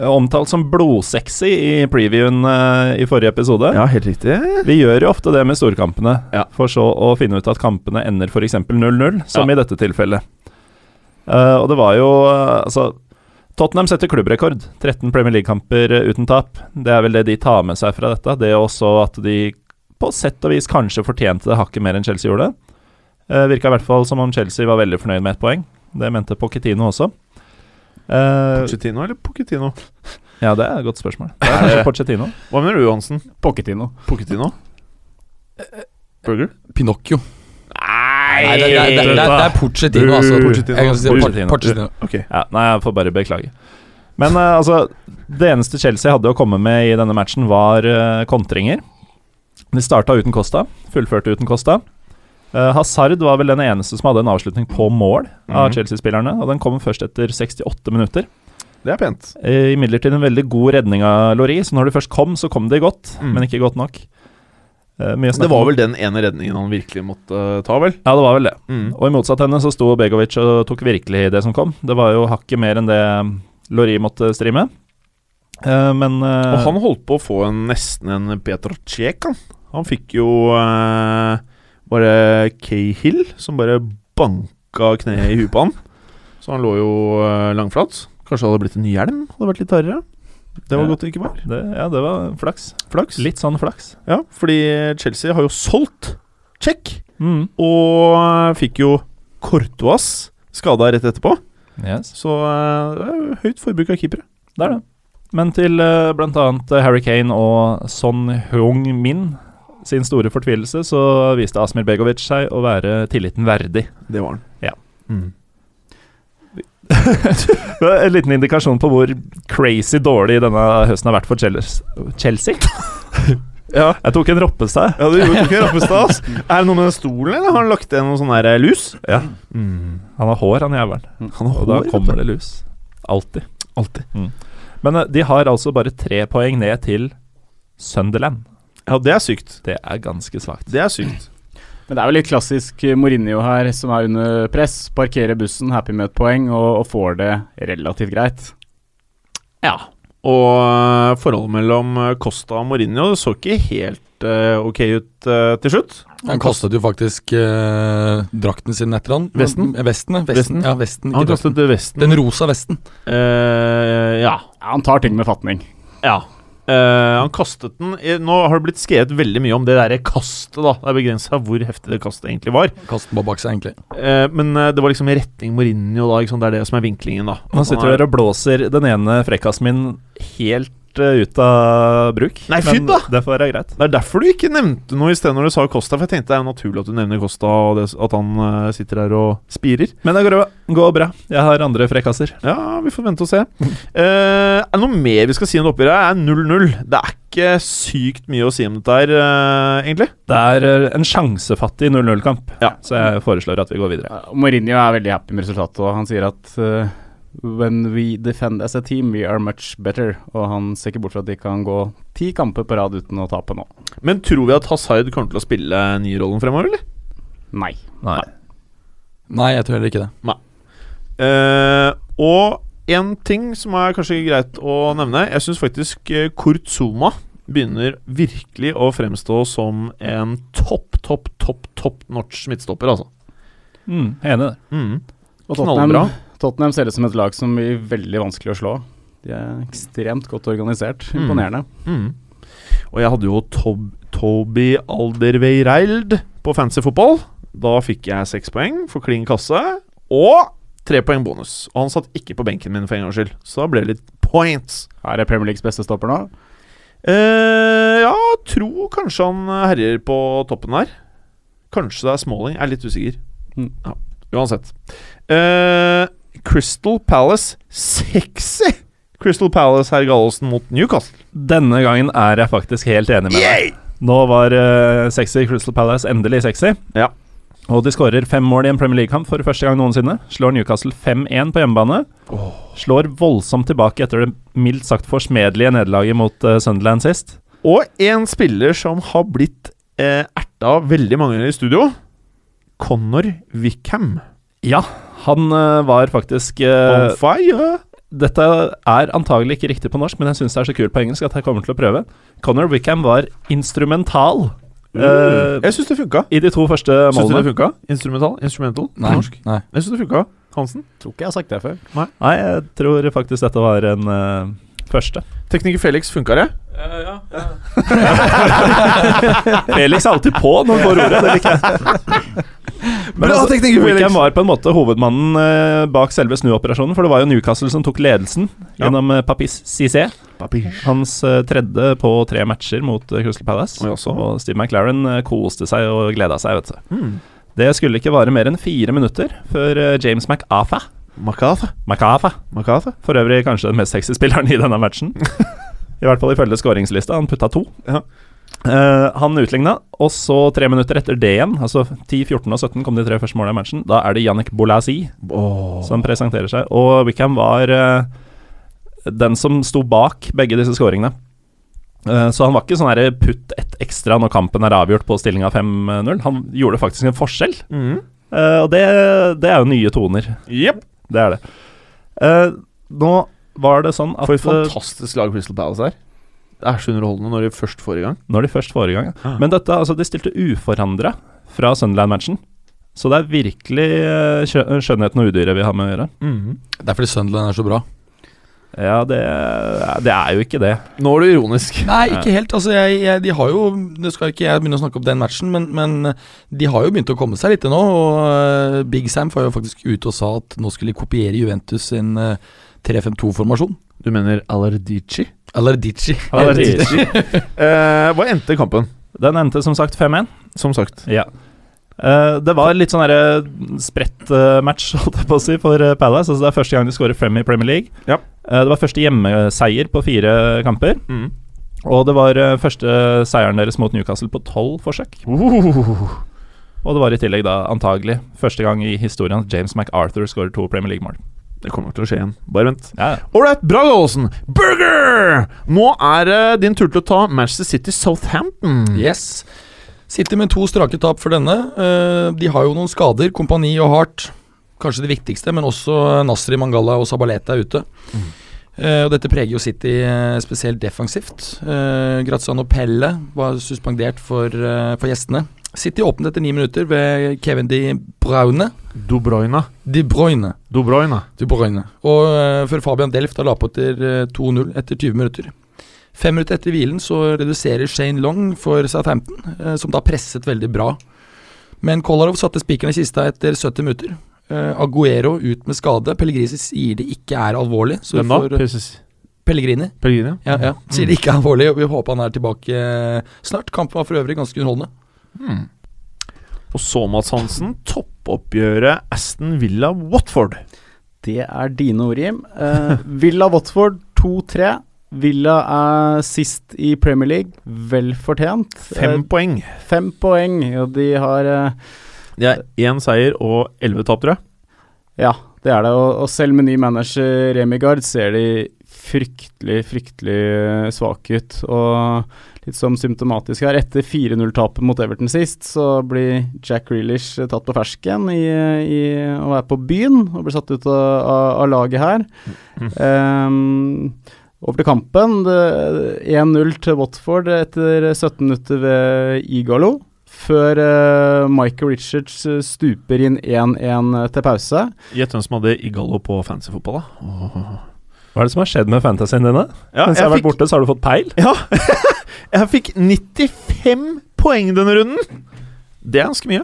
Speaker 2: Omtalt som blodsexy i previewen eh, i forrige episode.
Speaker 1: helt riktig.
Speaker 2: Vi gjør jo ofte det med storkampene,
Speaker 1: Ja.
Speaker 2: for så å finne ut at kampene ender f.eks. 0-0, som i dette tilfellet. Eh, og det var jo eh, Altså, Tottenham setter klubbrekord. 13 Premier League-kamper eh, uten tap. Det er vel det de tar med seg fra dette. Det er også at de på sett og vis kanskje fortjente det hakket mer enn Chelsea gjorde. Uh, Virka i hvert fall som om Chelsea var veldig fornøyd med ett poeng. Det mente Pochettino også. Eh,
Speaker 1: Pochettino eller Pochettino?
Speaker 2: ja, det er et godt spørsmål. Det er kanskje Pochettino.
Speaker 1: Hva mener du, Johansen?
Speaker 3: Pochettino.
Speaker 1: Pochettino? Burger?
Speaker 4: Pinocchio. Nei, det, det, det, det, det er Pochettino, altså.
Speaker 1: Pochettino.
Speaker 4: Jeg kan si
Speaker 2: Pochettino.
Speaker 4: Pochettino. Pochettino.
Speaker 1: Ok.
Speaker 2: Ja, nei, jeg får bare beklage. Men eh, altså, det eneste Chelsea hadde å komme med i denne matchen, var eh, kontringer. De starta uten Costa, fullførte uten Costa. Eh, Hazard var vel den eneste som hadde en avslutning på mål av
Speaker 1: Mhm.
Speaker 2: Chelsea-spillerne, og den kom først etter 68 minutter.
Speaker 1: Det er pent.
Speaker 2: Eh, Imidlertid en veldig god redning av Lori, så når det først kom, så kom det godt,
Speaker 1: Mm.
Speaker 2: men ikke godt nok. Eh, mye
Speaker 1: Det
Speaker 2: snakk
Speaker 1: var
Speaker 2: om-
Speaker 1: vel den ene redningen han virkelig måtte eh, ta, vel?
Speaker 2: Ja, det var vel det.
Speaker 1: Mm.
Speaker 2: Mm. Og i motsatt henne så sto Begovic og tok virkelig det som kom. Det var jo hakket mer enn det Lori måtte stri med. Eh, men eh,
Speaker 1: Og han holdt på å få en, nesten en Petr Cech, han. Han fikk jo eh, bare Cahill, som bare banka kneet i huet på han. Så han lå jo eh, langflat. Kanskje det hadde blitt en ny hjelm? Hadde vært litt hardere. Det var
Speaker 2: Ja.
Speaker 1: godt det ikke var.
Speaker 2: det, Ja, det var flaks.
Speaker 1: Flaks.
Speaker 2: Litt sånn flaks.
Speaker 1: Ja, fordi Chelsea har jo solgt Cech,
Speaker 2: Mm.
Speaker 1: og eh, fikk jo Courtois skada rett etterpå.
Speaker 2: Yes,
Speaker 1: Så eh, det er jo høyt forbruk av keepere.
Speaker 2: det er det. Men til eh, blant annet Harry Kane og Son Heung Min sin store fortvilelse, så viste Asmir Begovic seg å være tilliten verdig.
Speaker 1: Det var han.
Speaker 2: Ja.
Speaker 1: Mm.
Speaker 2: Det er En liten indikasjon på hvor crazy dårlig denne høsten har vært for Chel- Chelsea.
Speaker 1: Ja.
Speaker 2: Jeg tok en Roppestad.
Speaker 1: Ja, du gjorde ikke Rappestad, ass. Er det noe med den stolen, eller har han lagt igjen noe sånn der lus?
Speaker 2: Ja.
Speaker 1: Mm.
Speaker 2: Han har hår, han jævelen.
Speaker 1: Han har
Speaker 2: Og da
Speaker 1: hår,
Speaker 2: kommer
Speaker 1: vet
Speaker 2: det
Speaker 1: du.
Speaker 2: lus. Alltid.
Speaker 1: Alltid.
Speaker 2: Men eh, de har altså bare tre poeng ned til Sunderland.
Speaker 1: Ja, det er sykt.
Speaker 2: Det er ganske svakt.
Speaker 1: Det er sykt.
Speaker 3: Men det er vel litt klassisk eh, Mourinho her, som er under press. Parkerer bussen, happy med et poeng, og, og får det relativt greit.
Speaker 1: Ja. Og eh, forholdet mellom eh, Costa og Mourinho så ikke helt eh, ok ut eh, til slutt.
Speaker 4: Han kastet jo faktisk eh, drakten sin etter han.
Speaker 1: Vesten?
Speaker 4: Eh, Vesten, ja. vesten.
Speaker 1: Vesten.
Speaker 4: Ja, vesten ikke
Speaker 1: Han
Speaker 4: drakten.
Speaker 1: kastet vesten.
Speaker 4: Den rosa vesten.
Speaker 1: Eh, ja.
Speaker 3: Ja, han tar ting med fatning.
Speaker 1: Ja. Eh, han kastet den i- Nå har det blitt skrevet veldig mye om det derre kastet, da. Det er begrensa hvor heftig det kastet egentlig var.
Speaker 4: Kastet den bare bak seg, egentlig.
Speaker 1: Eh, men eh, det var liksom i retning Mourinho, da. Ikke sant? Det er det som er vinklingen, da.
Speaker 2: Nå sitter dere og blåser den ene frekkasen min helt eh, ut av bruk.
Speaker 1: Nei,
Speaker 2: Men
Speaker 1: fytt da!
Speaker 2: Det får være greit.
Speaker 1: Det er derfor du ikke nevnte noe i sted når du sa Costa, for jeg tenkte det er jo naturlig at du nevner Costa, og det, at han eh, sitter der og spirer.
Speaker 2: Men det går, går bra. Jeg har andre frekkaser.
Speaker 1: Ja, vi får vente og se. Eh, er det noe mer vi skal si om det oppgjøret? her? Det er 0-0. Det er ikke sykt mye å si om dette her, eh, egentlig.
Speaker 2: Det er eh, en sjansefattig 0-0-kamp,
Speaker 1: Ja.
Speaker 2: så jeg foreslår at vi går videre.
Speaker 3: Ja, og Mourinho er veldig happy med resultatet, og han sier at eh, When we defend as a team, we are much better. Og han ser ikke bort fra at de kan gå ti kamper på rad uten å tape nå.
Speaker 1: Men tror vi at Hazard kommer til å spille nyrollen fremover, eller?
Speaker 3: Nei.
Speaker 2: Nei.
Speaker 4: Nei, jeg tror heller ikke det.
Speaker 1: Eh, og en ting som er kanskje greit å nevne Jeg syns faktisk eh, Kurt Zuma begynner virkelig å fremstå som en topp, topp, topp, topp notch midtstopper, altså.
Speaker 2: Mm, enig der.
Speaker 1: Mm.
Speaker 3: Og
Speaker 1: Knallbra.
Speaker 3: Tottenham, Tottenham ser ut som et lag som blir veldig vanskelig å slå. De er ekstremt godt organisert.
Speaker 1: Mm.
Speaker 3: Imponerende.
Speaker 1: Mm. Og jeg hadde jo Tob Toby Alderweireild på fancy fotball. Da fikk jeg seks poeng for klin kasse og tre poeng bonus. Og han satt ikke på benken min for en gangs skyld, så da ble det litt points.
Speaker 3: Her er Premier Leagues beste stopper nå.
Speaker 1: eh ja, tror kanskje han herjer på toppen her. Kanskje det er Smalling. Jeg er litt usikker.
Speaker 3: Mm.
Speaker 1: Ja, uansett. Eh, Crystal Palace Sexy! Crystal Palace herr Gallosen mot Newcastle.
Speaker 2: Denne gangen er jeg faktisk helt enig med deg. Nå var eh, sexy Crystal Palace endelig sexy.
Speaker 1: Ja.
Speaker 2: Og de skårer fem mål i en Premier League-kamp for første gang noensinne. Slår Newcastle 5-1 på hjemmebane. Slår voldsomt tilbake etter det mildt sagt forsmedelige nederlaget mot eh, Sunderland sist.
Speaker 1: Og en spiller som har blitt eh, erta veldig mange ganger i studio. Connor Wickham.
Speaker 2: Ja, han eh, var faktisk
Speaker 1: On
Speaker 2: eh,
Speaker 1: fire!
Speaker 2: Dette er antagelig ikke riktig på norsk, men jeg syns det er så kult på engelsk at jeg kommer til å prøve. Connor Wickham var instrumental eh,
Speaker 1: Mm. jeg syns det funka.
Speaker 2: i de to første
Speaker 1: Syns du det
Speaker 2: målene.
Speaker 1: funka? Instrumental? Instrumental? på
Speaker 4: Nei.
Speaker 1: Norsk?
Speaker 4: Nei.
Speaker 1: Jeg syns det funka. Hansen?
Speaker 3: Tror ikke jeg har sagt det før.
Speaker 2: Nei, jeg tror faktisk dette var en eh, første.
Speaker 1: Tekniker Felix, funka det?
Speaker 2: Felix er alltid på når han får ordet. Det liker jeg. Men
Speaker 1: Bra
Speaker 2: altså,
Speaker 1: teknikk, Felix.
Speaker 2: Wickham var på en måte hovedmannen eh, bak selve snuoperasjonen, for det var jo Newcastle som tok ledelsen
Speaker 1: Ja.
Speaker 2: gjennom eh, Papis Cissé. Hans eh, tredje på tre matcher mot eh, Crystal Palace.
Speaker 1: Oi, jaså.
Speaker 2: Og Steve McLaren eh, koste seg og gleda seg, vet du.
Speaker 1: Mm.
Speaker 2: Det skulle ikke vare mer enn fire minutter før eh, James McAfa
Speaker 1: Makatha.
Speaker 2: McAfa
Speaker 1: Makatha.
Speaker 2: for øvrig kanskje den mest sexy spilleren i denne matchen. I hvert fall ifølge skåringslista. Han putta to.
Speaker 1: Ja.
Speaker 2: Eh, han utligna, og så tre minutter etter det igjen, altså 10, 14 og 17 kom de tre første målene i matchen. Da er det Jannik Bolasi som presenterer seg, og Wickham var eh, den som sto bak begge disse skåringene. Eh, Så han var ikke sånn her putt ett ekstra når kampen er avgjort på stillinga 5-0. Han gjorde faktisk en forskjell,
Speaker 1: Mm.
Speaker 2: Eh, og det, det er jo nye toner.
Speaker 1: Jepp.
Speaker 2: Det er det. Eh, nå var det sånn at
Speaker 1: For et
Speaker 2: eh,
Speaker 1: fantastisk lag Crystal Palace er. Det er så underholdende når de først får i gang.
Speaker 2: Når de først får i gang. ja.
Speaker 1: Ah.
Speaker 2: Men dette, altså, de stilte uforandra fra Sunderland-matchen. Så det er virkelig eh, skjø- skjønnheten og udyret vi har med å gjøre.
Speaker 1: Mm.
Speaker 4: Det er fordi Sunderland er så bra.
Speaker 2: Ja, det, det er jo ikke det.
Speaker 1: Nå er du ironisk.
Speaker 4: Nei, ikke helt. Altså, jeg, jeg, de har jo Nå skal ikke jeg begynne å snakke opp den matchen, men, men eh, de har jo begynt å komme seg litt nå. Og eh, Big Sam var jo faktisk ute og sa at nå skulle de kopiere Juventus sin eh, 3-5-2-formasjon.
Speaker 1: Du mener Alardici?
Speaker 4: Eller Ditchi.
Speaker 1: Eh, hva endte kampen,
Speaker 2: Den endte som sagt 5-1.
Speaker 1: som sagt?
Speaker 2: Ja. Eh, det var litt sånn derre spredt eh, match, holdt jeg på å si, for eh, Palace. Altså, det er første gang de scorer frem i Premier League.
Speaker 1: Ja.
Speaker 2: Eh, det var første hjemmeseier på fire kamper.
Speaker 1: Mm,
Speaker 2: Og det var eh, første seieren deres mot Newcastle på tolv forsøk.
Speaker 1: Uh,
Speaker 2: Og det var i tillegg da antagelig første gang i historien at James McArthur skårer to Premier League-mål.
Speaker 1: det kommer nok til å skje igjen. Bare vent.
Speaker 2: Ja,
Speaker 1: Ålreit, bra, Gallosen. Burger! Nå er det din tur til å ta Manchester City Southampton.
Speaker 4: Mm. Yes. Sitter med to strake tap for denne. Eh, de har jo noen skader, Kompani og Hart. Kanskje det viktigste, men også Nasri Mangala og Sabaleta er ute. Eh, og dette preger jo City eh, spesielt defensivt. Eh, Graziano Pelle var suspendert for, eh, for gjestene. City åpnet etter ni minutter ved Kevin de Bruyne.
Speaker 1: Du Bruyne.
Speaker 4: De Bruyne.
Speaker 1: Du Bruyne.
Speaker 4: De Bruyne. Og eh, for Fabian Delft da la på til eh, 2-0 etter 20 minutter. Fem minutter etter hvilen så reduserer Shane Long for Southampton, eh, som da presset veldig bra. Men Kolarov satte spikeren i kista etter 70 minutter. Eh, Aguero ut med skade. Pellegrini sier det ikke er alvorlig. Så vi
Speaker 1: Hvem da?
Speaker 4: får Pellegrini.
Speaker 1: Pellegrini?
Speaker 4: Ja, ja. Sier det ikke er alvorlig, og vi håper han er tilbake eh, snart. Kampen var for øvrig ganske underholdende.
Speaker 1: Og så, Mats Hansen, toppoppgjøret Aston Villa Watford.
Speaker 3: Det er dine ord, Jim. Eh, Villa Watford 2-3. Villa er sist i Premier League, vel fortjent.
Speaker 1: Fem
Speaker 3: Eh,
Speaker 1: poeng.
Speaker 3: fem poeng, og de har eh,
Speaker 1: Det er én seier og elleve tap, tror jeg.
Speaker 3: Ja, det er det. Og, og selv med ny manager Remigard ser de fryktelig, fryktelig eh, svake ut. Og litt som symptomatisk her, etter 4-0-tapet mot Everton sist, så blir Jack Grealish eh, tatt på fersken i, i å være på byen, og blir satt ut av, av, av laget her. Ehm, over til kampen. Det- 1-0 til Watford etter 17 minutter ved Igalo. Før eh, Michael Richards eh, stuper inn 1-1 til pause.
Speaker 1: Gjett hvem som hadde Igallo på fantasyfotball, da. Åh.
Speaker 2: Hva er det som har skjedd med fantasyen dine?
Speaker 1: Ja,
Speaker 2: Mens jeg
Speaker 1: jeg,
Speaker 2: har vært
Speaker 1: fikk,
Speaker 2: borte, så har du fått peil?
Speaker 1: jeg fikk 95 poeng denne runden! Det er ganske mye.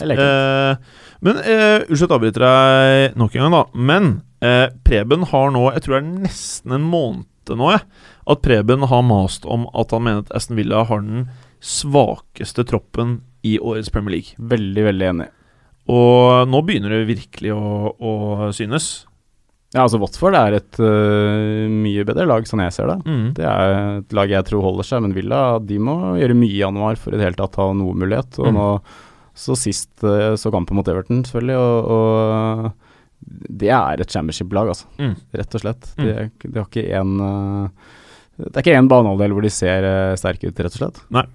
Speaker 3: Jeg leker.
Speaker 1: Eh, men eh, Unnskyld at jeg avbryter deg nok en gang, da. Men eh, Preben har nå Jeg tror det er nesten en måned nå, jeg. At Preben har mast om at han mener at Aston Villa har den svakeste troppen i årets Premier League.
Speaker 3: Veldig, veldig enig.
Speaker 1: Og nå begynner det virkelig å, å synes.
Speaker 3: Ja, altså Watford er et øh, mye bedre lag, sånn jeg ser det. Det er et lag jeg tror holder seg, men Villa de må gjøre mye i januar for i det hele tatt å ha noe mulighet. Og
Speaker 1: Mm.
Speaker 3: nå så sist øh, så kampen mot Everton, selvfølgelig, og, og det er et championship-lag, altså.
Speaker 1: Mm.
Speaker 3: Rett og slett.
Speaker 1: Mm.
Speaker 3: De, er ikke- de har ikke én øh, Det er ikke én banehalvdel hvor de ser øh, sterke ut, rett og slett.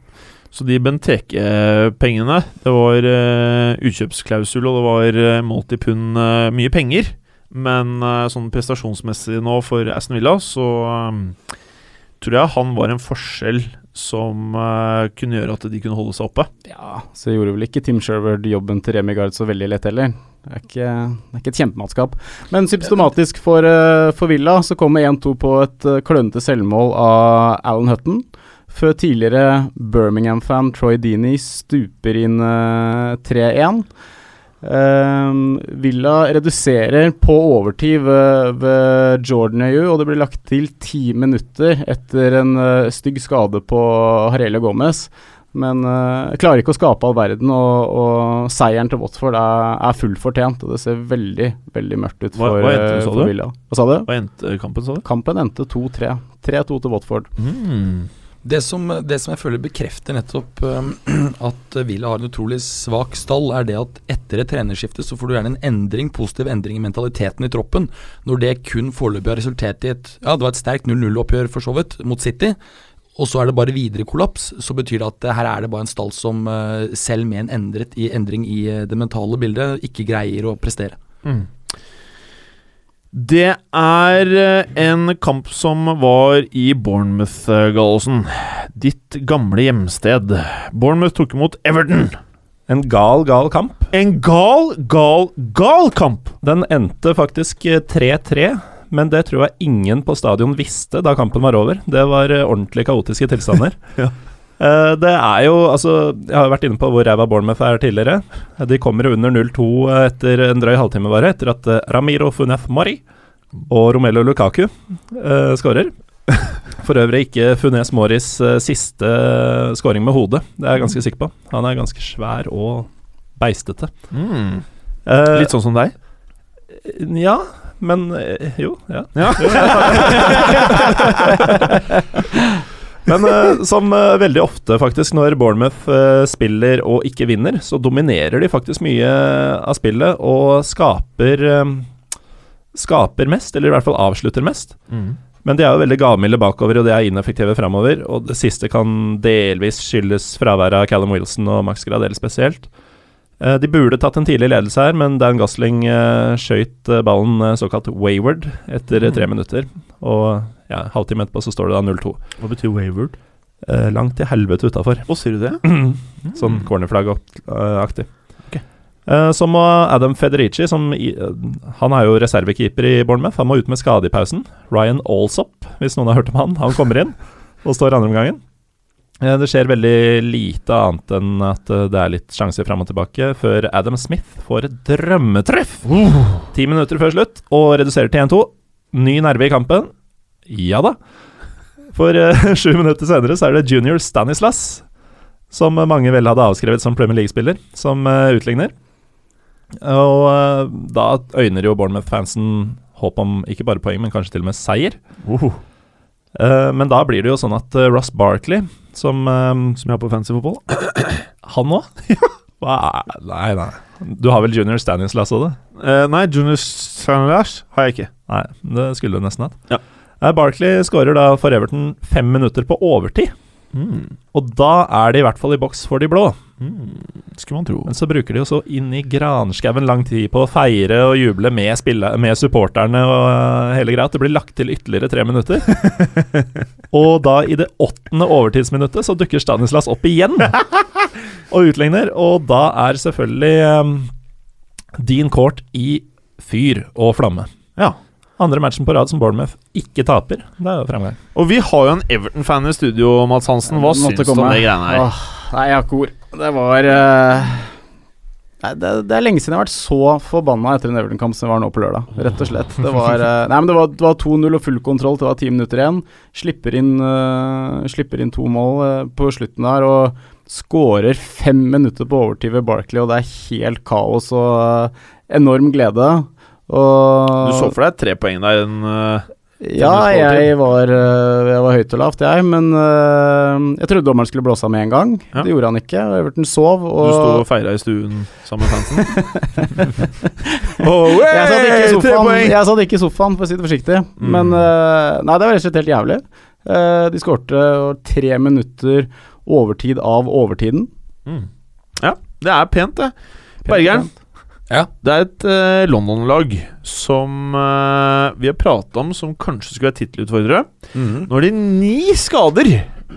Speaker 1: Så de Benteke-pengene Det var eh, utkjøpsklausul, og det var eh, multipund eh, mye penger. Men eh, sånn prestasjonsmessig nå for Aston Villa, så eh, tror jeg han var en forskjell som eh, kunne gjøre at de kunne holde seg oppe.
Speaker 3: Ja, så gjorde vel ikke Tim Sherwood jobben til Remi Gard så veldig lett heller. Det er ikke, det er ikke et kjempematskap. Men symptomatisk for, eh, for Villa så kommer 1-2 på et eh, klønete selvmål av Alan Hutton. Før tidligere Birmingham-fan Troy Deeney stuper inn eh, 3-1. Ehm, Villa reduserer på overtid ved, ved Jordan Ayew, og det blir lagt til ti minutter etter en eh, stygg skade på Harelio Gomez. Men eh, klarer ikke å skape all verden, og, og seieren til Watford er, er fullt fortjent. Og det ser veldig, veldig mørkt ut
Speaker 1: Hva-
Speaker 3: for,
Speaker 1: hva endte det,
Speaker 3: eh,
Speaker 1: sa
Speaker 3: for
Speaker 1: du?
Speaker 3: Villa. Hva sa du?
Speaker 1: Hva endte kampen, sa du?
Speaker 3: Kampen endte 2-3. 3-2 til Watford.
Speaker 4: Det som, det som jeg føler bekrefter nettopp eh, at Villa har en utrolig svak stall, er det at etter et trenerskifte så får du gjerne en endring, positiv endring i mentaliteten i troppen. Når det kun foreløpig har resultert i et Ja, det var et sterkt 0-0-oppgjør for så vidt, mot City. Og så er det bare videre kollaps, så betyr det at eh, her er det bare en stall som eh, selv med en endret i, endring i eh, det mentale bildet, ikke greier å prestere.
Speaker 1: Mm. Det er eh, en kamp som var i Bournemouth, eh, Gallosen. Ditt gamle hjemsted. Bournemouth tok imot Everton.
Speaker 2: En gal, gal kamp.
Speaker 1: En gal, gal, gal kamp!
Speaker 2: Den endte faktisk eh, 3-3, men det tror jeg ingen på stadion visste da kampen var over. Det var eh, ordentlig kaotiske tilstander.
Speaker 1: Ja.
Speaker 2: Eh, Det er jo, altså, Jeg har jo vært inne på hvor ræva Bournemouth er tidligere. De kommer jo under 0-2 etter en drøy halvtime bare, etter at eh, Ramiro Funef Mori og Romelo Lukaku eh, skårer. For øvrig ikke Funes Moris eh, siste skåring med hodet, det er jeg ganske sikker på. Han er ganske svær og beistete. Eh,
Speaker 1: Mm, Litt sånn som deg.
Speaker 2: ja, men eh, Jo, ja.
Speaker 1: Ja.
Speaker 2: Jo, ja. men eh, som eh, veldig ofte, faktisk, når Bournemouth eh, spiller og ikke vinner, så dominerer de faktisk mye eh, av spillet og skaper eh, Skaper mest, eller i hvert fall avslutter mest.
Speaker 1: Mm.
Speaker 2: Men de er jo veldig gavmilde bakover, og de er ineffektive framover. Og det siste kan delvis skyldes fraværet av Callum Wilson og Max Gradel spesielt. Eh, De burde tatt en tidlig ledelse her, men Dan Gosling eh, skøyt eh, ballen eh, såkalt wayward etter eh, tre minutter. Og ja, halvtime etterpå så står det da 0-2.
Speaker 1: Hva betyr wayward?
Speaker 2: Eh, langt til helvete utafor.
Speaker 1: Å, sier du det?
Speaker 2: Sånn
Speaker 1: Ok.
Speaker 2: cornerflagg-aktig. Eh, så må Adam Federici, som i, eh, han er jo reservekeeper i Bournemouth, han må ut med skade i pausen. Ryan Alsop, hvis noen har hørt om han, han kommer inn og står andre omgangen. Eh, det skjer veldig lite annet enn at eh, det er litt sjanser fram og tilbake, før Adam Smith får et drømmetreff! Ti minutter før slutt, og reduserer til 1-2. Ny nerve i kampen. Ja da. For eh, sju minutter senere så er det junior Stanislas som mange vel hadde avskrevet som Premier League-spiller, som eh, utligner. Og eh, da øyner jo Bournemouth-fansen håp om ikke bare poeng, men kanskje til og med seier.
Speaker 1: Uhuh.
Speaker 2: Eh, men da blir det jo sånn at eh, Ross Barkley, som eh,
Speaker 1: Som jeg har på fancy fotball.
Speaker 2: Han òg? nei, nei. Du har vel junior Stanislas også, det?
Speaker 1: Eh, nei, Junior Sanders har jeg ikke.
Speaker 2: Nei, det skulle du nesten hatt.
Speaker 1: Ja.
Speaker 2: Eh, Barkley skårer da for Everton fem minutter på overtid,
Speaker 1: Mm,
Speaker 2: og da er de i hvert fall i boks for de blå.
Speaker 1: Hmm, Skulle man tro.
Speaker 2: Men så bruker de jo så inn i granskauen lang tid på å feire og juble med, spille, med supporterne og øh, hele greia. at Det blir lagt til ytterligere tre minutter. og da, i det åttende overtidsminuttet, så dukker Stanislas opp igjen og utligner. Og da er selvfølgelig øhm, Dean Court i fyr og flamme.
Speaker 1: Ja.
Speaker 2: Andre matchen på rad som Bournemouth ikke taper. Det er jo fremgang.
Speaker 1: Og vi har jo en Everton-fan i studio, Mats Hansen. Hva
Speaker 3: Måtte
Speaker 1: syns du om
Speaker 3: komme.
Speaker 1: det greiene her?
Speaker 3: Åh, nei, jeg har ikke ord. Det var eh, Nei, det, det er lenge siden jeg har vært så forbanna etter en Everton-kamp som jeg var nå på lørdag. Rett og slett. Det var, eh, nei, men det var, det var 2-0 og full kontroll til det var ti minutter igjen. Slipper inn, eh, slipper inn to mål eh, på slutten der og skårer fem minutter på overtid ved Barkley, og det er helt kaos og eh, enorm glede. Og
Speaker 1: Du så for deg tre poeng der. En, eh,
Speaker 3: ja,
Speaker 1: Tennis på overtid.
Speaker 3: jeg var, øh, jeg var høyt og lavt, jeg. Men øh, jeg trodde dommeren skulle blåse av med en gang.
Speaker 1: Ja.
Speaker 3: Det gjorde han ikke. og Everton sov.
Speaker 1: du sto
Speaker 3: Og
Speaker 1: og feira i stuen sammen med fansen.
Speaker 3: jeg satt ikke i
Speaker 1: Hey, tre
Speaker 3: sofaen,
Speaker 1: poeng!
Speaker 3: jeg satt ikke i sofaen for å si det forsiktig.
Speaker 1: Mm.
Speaker 3: Men øh, Nei, det var rett og slett helt jævlig. Eh, de skårte og tre minutter overtid av overtiden.
Speaker 1: Mm. Ja, det er pent, det. Bergeren,
Speaker 4: Ja.
Speaker 1: det er et eh, London-lag som eh, vi har prata om som kanskje skulle være tittelutfordrere. Nå er det ni skader.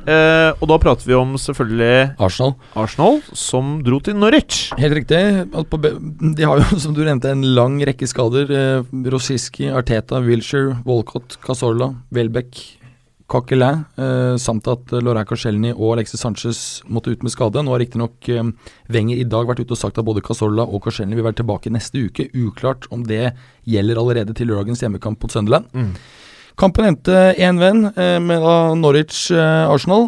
Speaker 1: Eh, og da prater vi om selvfølgelig
Speaker 4: Arsenal.
Speaker 1: Arsenal, som dro til Norwich.
Speaker 4: Helt riktig. At på be- De har jo, som du nevnte, en lang rekke skader. Eh, Rosiski, Arteta, Wilshere, Walcott, Casorla, Welbeck, Coquelin. Eh, samt at eh, Lorac Korselny og Alexis Sanchez måtte ut med skade. Nå har riktignok eh, Wenger i dag vært ute og sagt at både Casorla og Korselny vil være tilbake neste uke. Uklart om det gjelder allerede til lørdagens hjemmekamp mot Sunderland.
Speaker 1: Mm.
Speaker 4: Kampen endte 1-1 eh, med da Norwich-Arsenal.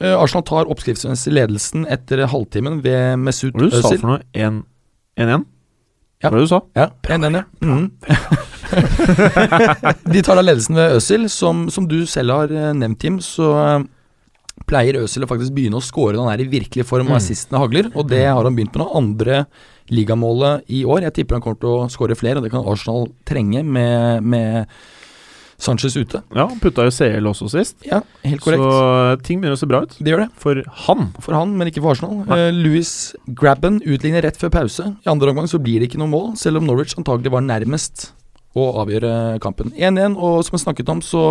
Speaker 4: Eh, Arsenal tar oppskriftsmessig ledelsen etter halvtimen ved Mesut
Speaker 1: Hva var det du sa
Speaker 4: Özil.
Speaker 1: for noe? 1-1?
Speaker 4: Eh, Ja.
Speaker 1: Hva var det du sa?
Speaker 4: Ja, en den, ja. Mhm. De tar da ledelsen ved Øsil. Som, som du selv har eh, nevnt, Jim, så eh, pleier Øzil å faktisk begynne å score når han er i virkelig form og assistene hagler. Og det har han begynt med nå. Andre ligamålet i år. Jeg tipper han kommer til å skåre flere, og det kan Arsenal trenge med, med Sanchez ute.
Speaker 1: Ja, han putta jo CL også sist,
Speaker 4: Ja, helt
Speaker 1: så
Speaker 4: korrekt.
Speaker 1: eh, ting begynner å se bra ut.
Speaker 4: Det gjør det.
Speaker 1: For han
Speaker 4: For han, men ikke for Arsenal. Eh, Louis Grabben utligner rett før pause. I andre omgang så blir det ikke noe mål, selv om Norwich antagelig var nærmest å avgjøre kampen. 1-1, og som jeg snakket om så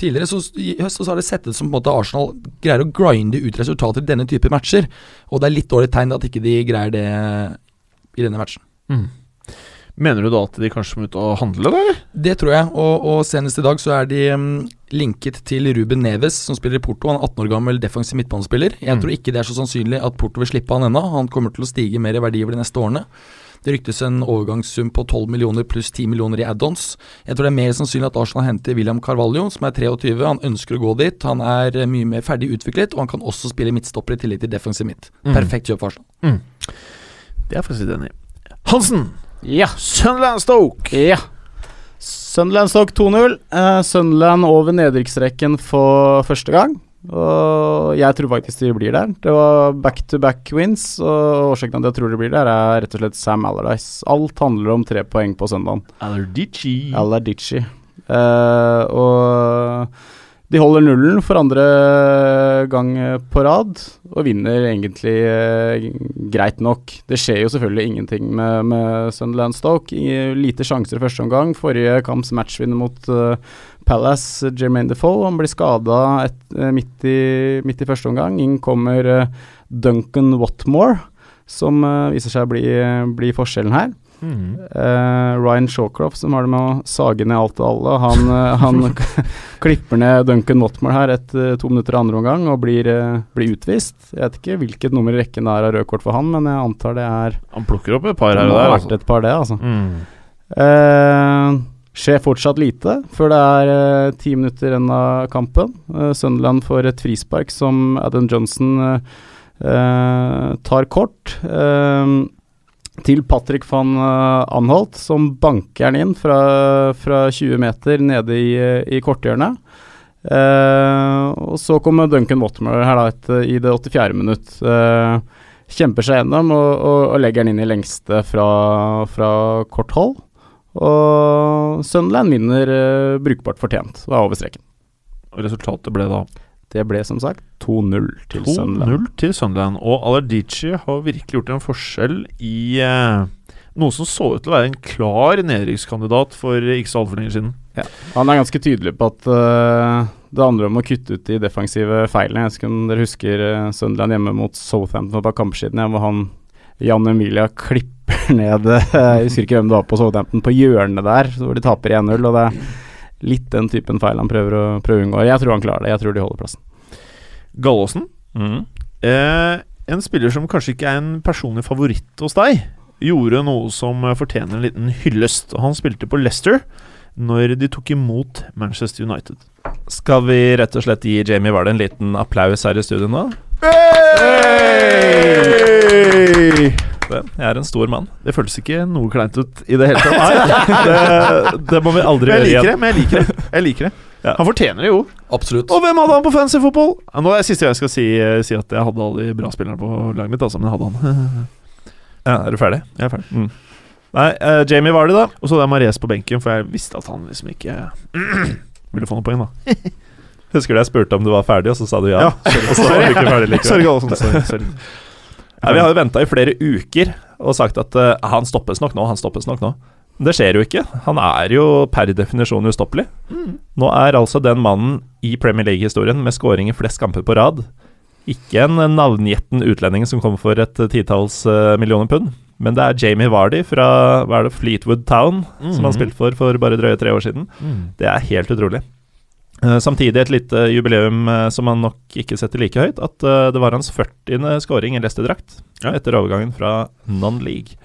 Speaker 4: tidligere, så s- i høst så har det sett ut som på en måte Arsenal greier å grinde ut resultater i denne type matcher. Og det er litt dårlig tegn at ikke de greier det i denne matchen.
Speaker 1: Mener du da at de kanskje må ut og handle, da? eller?
Speaker 4: Det tror jeg, og, og senest i dag så er de mm, linket til Ruben Neves, som spiller i Porto. Han er 18 år gammel defensiv midtbanespiller. Jeg
Speaker 1: Mm.
Speaker 4: tror ikke det er så sannsynlig at Porto vil slippe han ennå. Han kommer til å stige mer i verdi over de neste årene. Det ryktes en overgangssum på 12 millioner pluss 10 millioner i add-ons. Jeg tror det er mer sannsynlig at Arsenal henter William Carvalho, som er 23. Han ønsker å gå dit. Han er eh, mye mer ferdig utviklet, og han kan også spille midtstopper i tillegg til defensiv midt.
Speaker 1: Mm.
Speaker 4: Perfekt kjøp for Arsenal.
Speaker 1: Det er jeg faktisk enig i. Hansen!
Speaker 3: Ja.
Speaker 1: Sunland Stoke!
Speaker 3: ja. Sunderland Stoke 2-0. Eh, Sunderland over nedrykksrekken for første gang. Og jeg tror faktisk de blir der. Det var back to back wins. Og årsaken til at jeg tror de blir der, er rett og slett Sam Allardyce. Alt handler om tre poeng på søndagen.
Speaker 1: Allerdici.
Speaker 3: Allardyce. Eh, og de holder nullen for andre gang på rad, og vinner egentlig eh, greit nok. Det skjer jo selvfølgelig ingenting med, med Sunderland Stoke. I, lite sjanser i første omgang. Forrige kamps matchvinner mot eh, Palace, Jermaine Defoe. Han blir skada midt, i- midt i første omgang. Inn kommer eh, Duncan Watmore, som eh, viser seg å bli, bli forskjellen her.
Speaker 1: Mhm.
Speaker 3: Eh, Ryan Shawcroft, som har det med å sage ned alt og alle, han, eh, han k- klipper ned Duncan Watmore her etter to minutter i andre omgang og blir, eh, blir utvist. Jeg vet ikke hvilket nummer i rekken det er av rød kort for han, men jeg antar det er
Speaker 1: Han plukker opp et par
Speaker 3: Det
Speaker 1: her og
Speaker 3: må
Speaker 1: der.
Speaker 3: ha vært
Speaker 1: altså.
Speaker 3: et par, det, altså.
Speaker 1: Mm.
Speaker 3: Eh, skjer fortsatt lite før det er eh, ti minutter igjen av kampen. Eh, Sunderland får et frispark som Adam Johnson eh, eh, tar kort. eh, til Patrick van eh, Anholt, som banker den inn fra, fra 20 meter nede i, eh, i korthjørnet. Eh, og så kommer Duncan Watmore her da etter, i det 84. minutt. Eh, kjemper seg gjennom og, og, og legger den inn i lengste fra, fra kort hold. Og Sunderland vinner eh, brukbart fortjent og er over streken.
Speaker 1: Og resultatet ble da
Speaker 3: Det ble som sagt 2-0 til Sunderland.
Speaker 1: 2-0 til Sunderland. Og Alardici har virkelig gjort en forskjell i eh, noe som så ut til å være en klar nedrykkskandidat for ikke så altfor lenge siden.
Speaker 3: Han er ganske tydelig på at eh, det handler om å kutte ut de defensive feilene. Jeg vet ikke om dere husker eh, Sunderland hjemme mot Southampton for et par kamper siden, ja, hvor han Jan Emilia klipper ned eh, Jeg husker ikke hvem det var på Southampton, på hjørnet der, hvor de taper 1-0. Og det er litt den typen feil han prøver å prøver å unngå. Jeg tror han klarer det. Jeg tror de holder plassen.
Speaker 1: Gallåsen,
Speaker 2: Mm.
Speaker 1: eh, en spiller som kanskje ikke er en personlig favoritt hos deg, gjorde noe som eh, fortjener en liten hyllest. Og Han spilte på Leicester når de tok imot Manchester United.
Speaker 2: Skal vi rett og slett gi Jamie Vardy en liten applaus her i studio nå? Det, jeg er en stor mann.
Speaker 1: Det føltes ikke noe kleint ut i det hele tatt.
Speaker 2: Det, det må vi aldri
Speaker 1: Jeg liker
Speaker 2: gjøre
Speaker 1: det,
Speaker 2: igjen.
Speaker 1: men jeg liker det. Jeg liker det.
Speaker 2: Ja.
Speaker 1: Han fortjener det jo.
Speaker 4: Absolutt.
Speaker 1: Og hvem hadde han på fancy fotball? Ja, Nå er det siste gang jeg skal si, eh, si at jeg hadde alle de bra spillerne på laget mitt, altså, men jeg hadde han.
Speaker 2: Ja, er du ferdig?
Speaker 1: Jeg er ferdig.
Speaker 2: Nei, eh, Jamie Vardy, da.
Speaker 1: Og så hadde jeg Mares på benken, for jeg visste at han liksom ikke ville få noen poeng, da.
Speaker 2: Husker du jeg spurte om du var ferdig, og så sa du ja?
Speaker 1: Ja.
Speaker 2: Og så var du ikke ferdig likevel.
Speaker 1: Sorry, Gallosen. Sorry, sorry.
Speaker 2: Nei, vi har jo venta i flere uker og sagt at eh, han stoppes nok nå, han stoppes nok nå. Men det skjer jo ikke. Han er jo per definisjon ustoppelig. Nå er altså den mannen i Premier League-historien med skåring i flest kamper på rad ikke en navngjetten utlending som kommer for et eh, titalls eh, millioner pund, men det er Jamie Vardy fra hva er det, Fleetwood Town,
Speaker 1: Mm,
Speaker 2: som han spilte for for bare drøye tre år siden. Det er helt utrolig. Eh, Samtidig et lite jubileum eh, som han nok ikke setter like høyt, at eh, det var hans 40. scoring i Leicester-drakt
Speaker 1: Ja.
Speaker 2: etter overgangen fra non-league.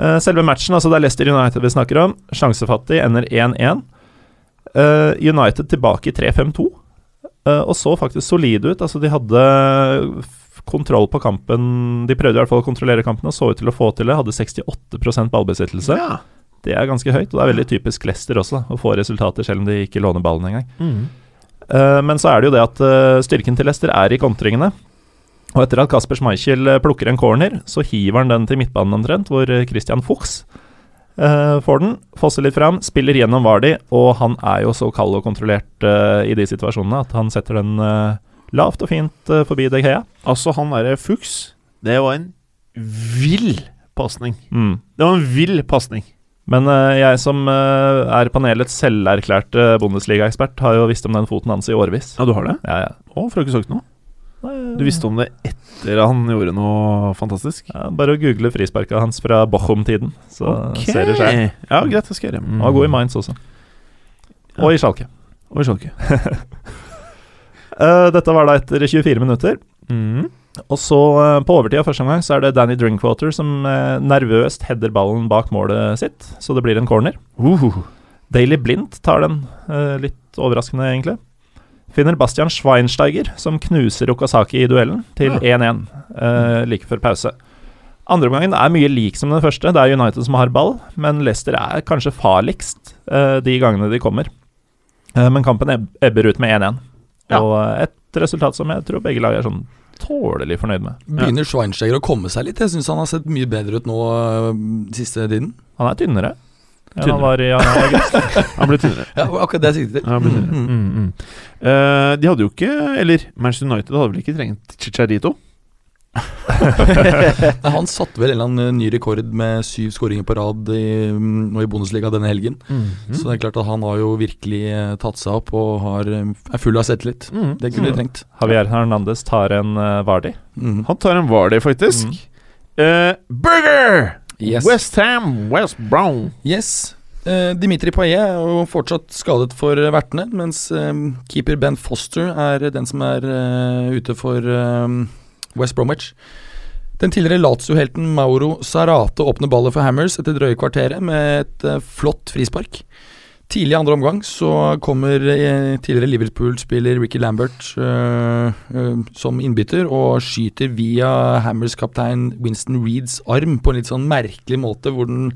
Speaker 2: Eh, Selve matchen, altså det er Leicester United vi snakker om, sjansefattig, ender 1-1. Eh, United tilbake i 3-5-2, eh, og så faktisk solide ut. Altså de hadde f- kontroll på kampen, de prøvde i hvert fall å kontrollere kampen og så ut til å få til det. Hadde 68 ballbesittelse.
Speaker 1: Ja. mm.
Speaker 2: Det er ganske høyt, og det er veldig typisk Leicester også, da, å få resultater selv om de ikke låner ballen engang. Eh, men så er det jo det at eh, styrken til Leicester er i kontringene. Og etter at Kasper Schmeichel eh, plukker en corner, så hiver han den til midtbanen omtrent, hvor eh, Christian Fuchs eh, får den, fosser litt fram, spiller gjennom Vardi, og han er jo så kald og kontrollert eh, i de situasjonene at han setter den eh, lavt og fint eh, forbi De Gea.
Speaker 1: Altså, han derre Fuchs, det var en vill pasning.
Speaker 2: Mm.
Speaker 1: Det var en vill pasning.
Speaker 2: Men eh, jeg som eh, er panelets selverklærte Bundesliga-ekspert, har jo visst om den foten hans i årevis.
Speaker 1: Ja, du har det?
Speaker 2: Ja, ja.
Speaker 1: Å, får du ikke sagt noe?
Speaker 2: Nei,
Speaker 1: Du visste om det etter han gjorde noe fantastisk?
Speaker 2: ja, Bare å google frisparket hans fra Bochum-tiden, så ser det seg.
Speaker 1: Ja, greit, det skal jeg gjøre.
Speaker 2: Han var god i Mainz også. Mm. Og i Schalke.
Speaker 1: Og i Schalke.
Speaker 2: Eh, dette var da etter 24 minutter.
Speaker 1: Mm.
Speaker 2: Og så eh, på overtida første omgang så er det Danny Drinkwater som eh, nervøst header ballen bak målet sitt, så det blir en corner.
Speaker 1: Uh.
Speaker 2: Daily Blind tar den, eh, litt overraskende egentlig. Finner Bastian Schweinsteiger, som knuser Okasaki i duellen, til 1-1 eh, like før pause. Andreomgangen er mye lik som den første, det er United som har ball, men Leicester er kanskje farligst eh, de gangene de kommer. Eh, men kampen eb ebber ut med 1-1,
Speaker 1: Ja.
Speaker 2: og eh, et resultat som jeg tror begge lag er sånn tålelig fornøyd med.
Speaker 4: Begynner Schweinsteiger å komme seg litt? Jeg syns han har sett mye bedre ut nå øh, siste tiden.
Speaker 2: Han er tynnere enn
Speaker 1: Tynnere.
Speaker 2: han var i august.
Speaker 1: Han ble tynnere.
Speaker 4: Ja, akkurat det jeg sikter til.
Speaker 1: Ja, han ble tynnere.
Speaker 4: Mm.
Speaker 1: Mm, mm. Eh, de hadde jo ikke Eller Manchester United hadde vel ikke trengt Chicharito?
Speaker 4: Nei, han satte vel en eller annen ny rekord med syv skåringer på rad i, mm, nå i Bundesliga denne helgen.
Speaker 2: Mm.
Speaker 4: Så det er klart at han har jo virkelig eh, tatt seg opp og har, eh, er full av selvtillit.
Speaker 1: Mm.
Speaker 4: Det kunne de trengt.
Speaker 2: Javier Hernandez tar en eh, Mm. Vardi.
Speaker 4: Mm.
Speaker 1: Han tar en Vardy, faktisk. Eh, burger!
Speaker 4: Yes.
Speaker 1: West Ham, West Brown.
Speaker 4: yes. Eh, Dimitri Paillet er jo fortsatt skadet for vertene, mens eh, keeper Ben Foster er den som er eh, ute for eh, West Bromwich. Den tidligere Lazio-helten Mauro Sarate åpner ballet for Hammers etter drøye kvarteret med et eh, flott frispark. Tidlig i andre omgang så kommer eh, tidligere Liverpool-spiller Ricky Lambert eh, eh, som innbytter og skyter via Hammers-kaptein Winston Reeds arm på en litt sånn merkelig måte, hvor den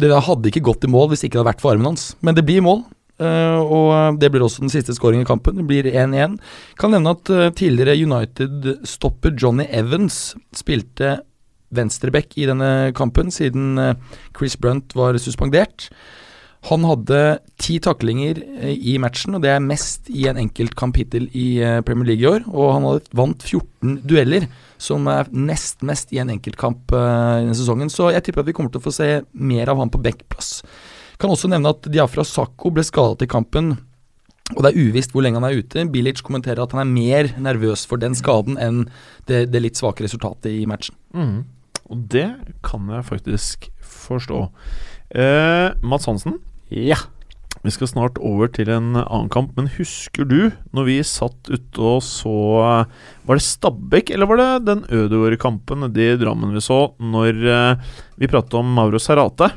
Speaker 4: Det der hadde ikke gått i mål hvis ikke det hadde vært for armen hans, men det blir mål. eh, og det blir også den siste skåringen i kampen. Det blir 1-1. Kan nevne at eh, tidligere United-stopper Johnny Evans spilte venstreback i denne kampen, siden eh, Chris Brunt var suspendert. Han hadde ti taklinger eh, i matchen, og det er mest i en enkeltkamp hittil i eh, Premier League i år. Og han hadde vant 14 dueller, som er nest mest i en enkeltkamp eh, i denne sesongen. Så jeg tipper at vi kommer til å få se mer av han på backplass. Kan også nevne at Diafra Sakko ble skadet i kampen, og det er uvisst hvor lenge han er ute. Bilic kommenterer at han er mer nervøs for den skaden enn det, det litt svake resultatet i matchen.
Speaker 1: Mm. Og det kan jeg faktisk forstå. Eh, Mats Hansen,
Speaker 3: Ja.
Speaker 1: vi skal snart over til en annen kamp, men husker du når vi satt ute og så eh, Var det Stabæk, eller var det den Ødegaard-kampen nede i Drammen vi så, når eh, vi pratet om Mauro Sarate?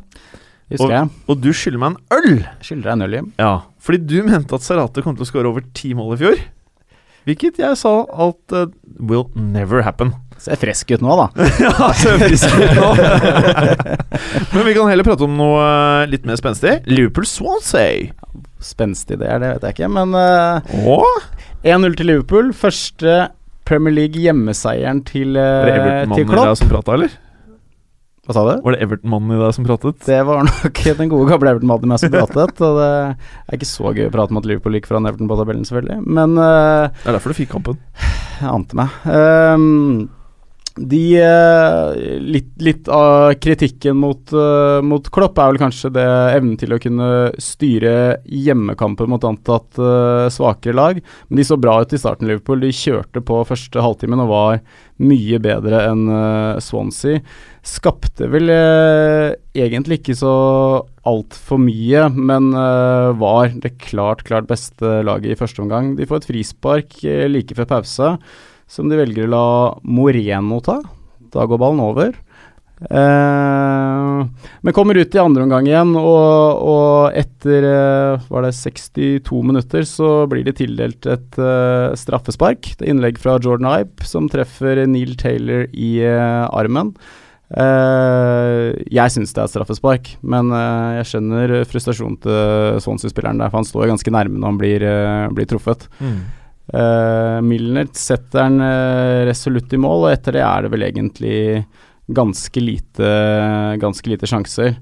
Speaker 3: Husker
Speaker 1: Og-
Speaker 3: jeg.
Speaker 1: Og du skylder meg en øl!
Speaker 3: Skylder deg en øl hjem.
Speaker 1: Ja, fordi du mente at Sarate kom til å skåre over ti mål i fjor. Hvilket jeg sa at eh, will never happen.
Speaker 3: Ser frisk ut nå, da.
Speaker 1: ja, så frisk ut nå. Men vi kan heller prate om noe eh, litt mer spenstig. Liverpool Swansea.
Speaker 3: Spenstig det er, det vet jeg ikke. Men eh,
Speaker 1: Åh,
Speaker 3: 1-0 til Liverpool. Første Premier League hjemmeseieren til,
Speaker 1: var det
Speaker 3: eh, til
Speaker 1: Everton-mannen i deg
Speaker 3: Klopp.
Speaker 1: som prata, eller?
Speaker 3: Hva sa du?
Speaker 1: Var det Everton-mannen i deg som pratet?
Speaker 3: Det var nok den gode gamle Everton-mannen i meg som pratet. Og det er ikke så gøy å prate om at Liverpool gikk foran Everton på tabellen, selvfølgelig. Men eh,
Speaker 1: Det er derfor du fikk kampen.
Speaker 3: Jeg ante meg. Ehm, de eh, litt, litt av kritikken mot, eh, mot Klopp er vel kanskje det evnen til å kunne styre hjemmekamper mot antatt eh, svakere lag. Men de så bra ut i starten, Liverpool. De kjørte på første halvtimen og var mye bedre enn eh, Swansea. Skapte vel eh, egentlig ikke så altfor mye, men eh, var det klart, klart beste laget i første omgang. De får et frispark eh, like før pause, som de velger å la Moreno ta. Da går ballen over. Eh, men kommer ut i andre omgang igjen, og, og etter eh, var det 62 minutter så blir det tildelt et eh, straffespark. Det er innlegg fra Jordan Ibe som treffer Neil Taylor i eh, armen. Eh, Eh, jeg syns det er straffespark, men eh, jeg skjønner frustrasjonen til Swansea-spilleren der, for han står jo ganske nærme når han blir, eh, blir truffet. Eh, Milner setter han eh, resolutt i mål, og etter det er det vel egentlig ganske lite, ganske lite sjanser.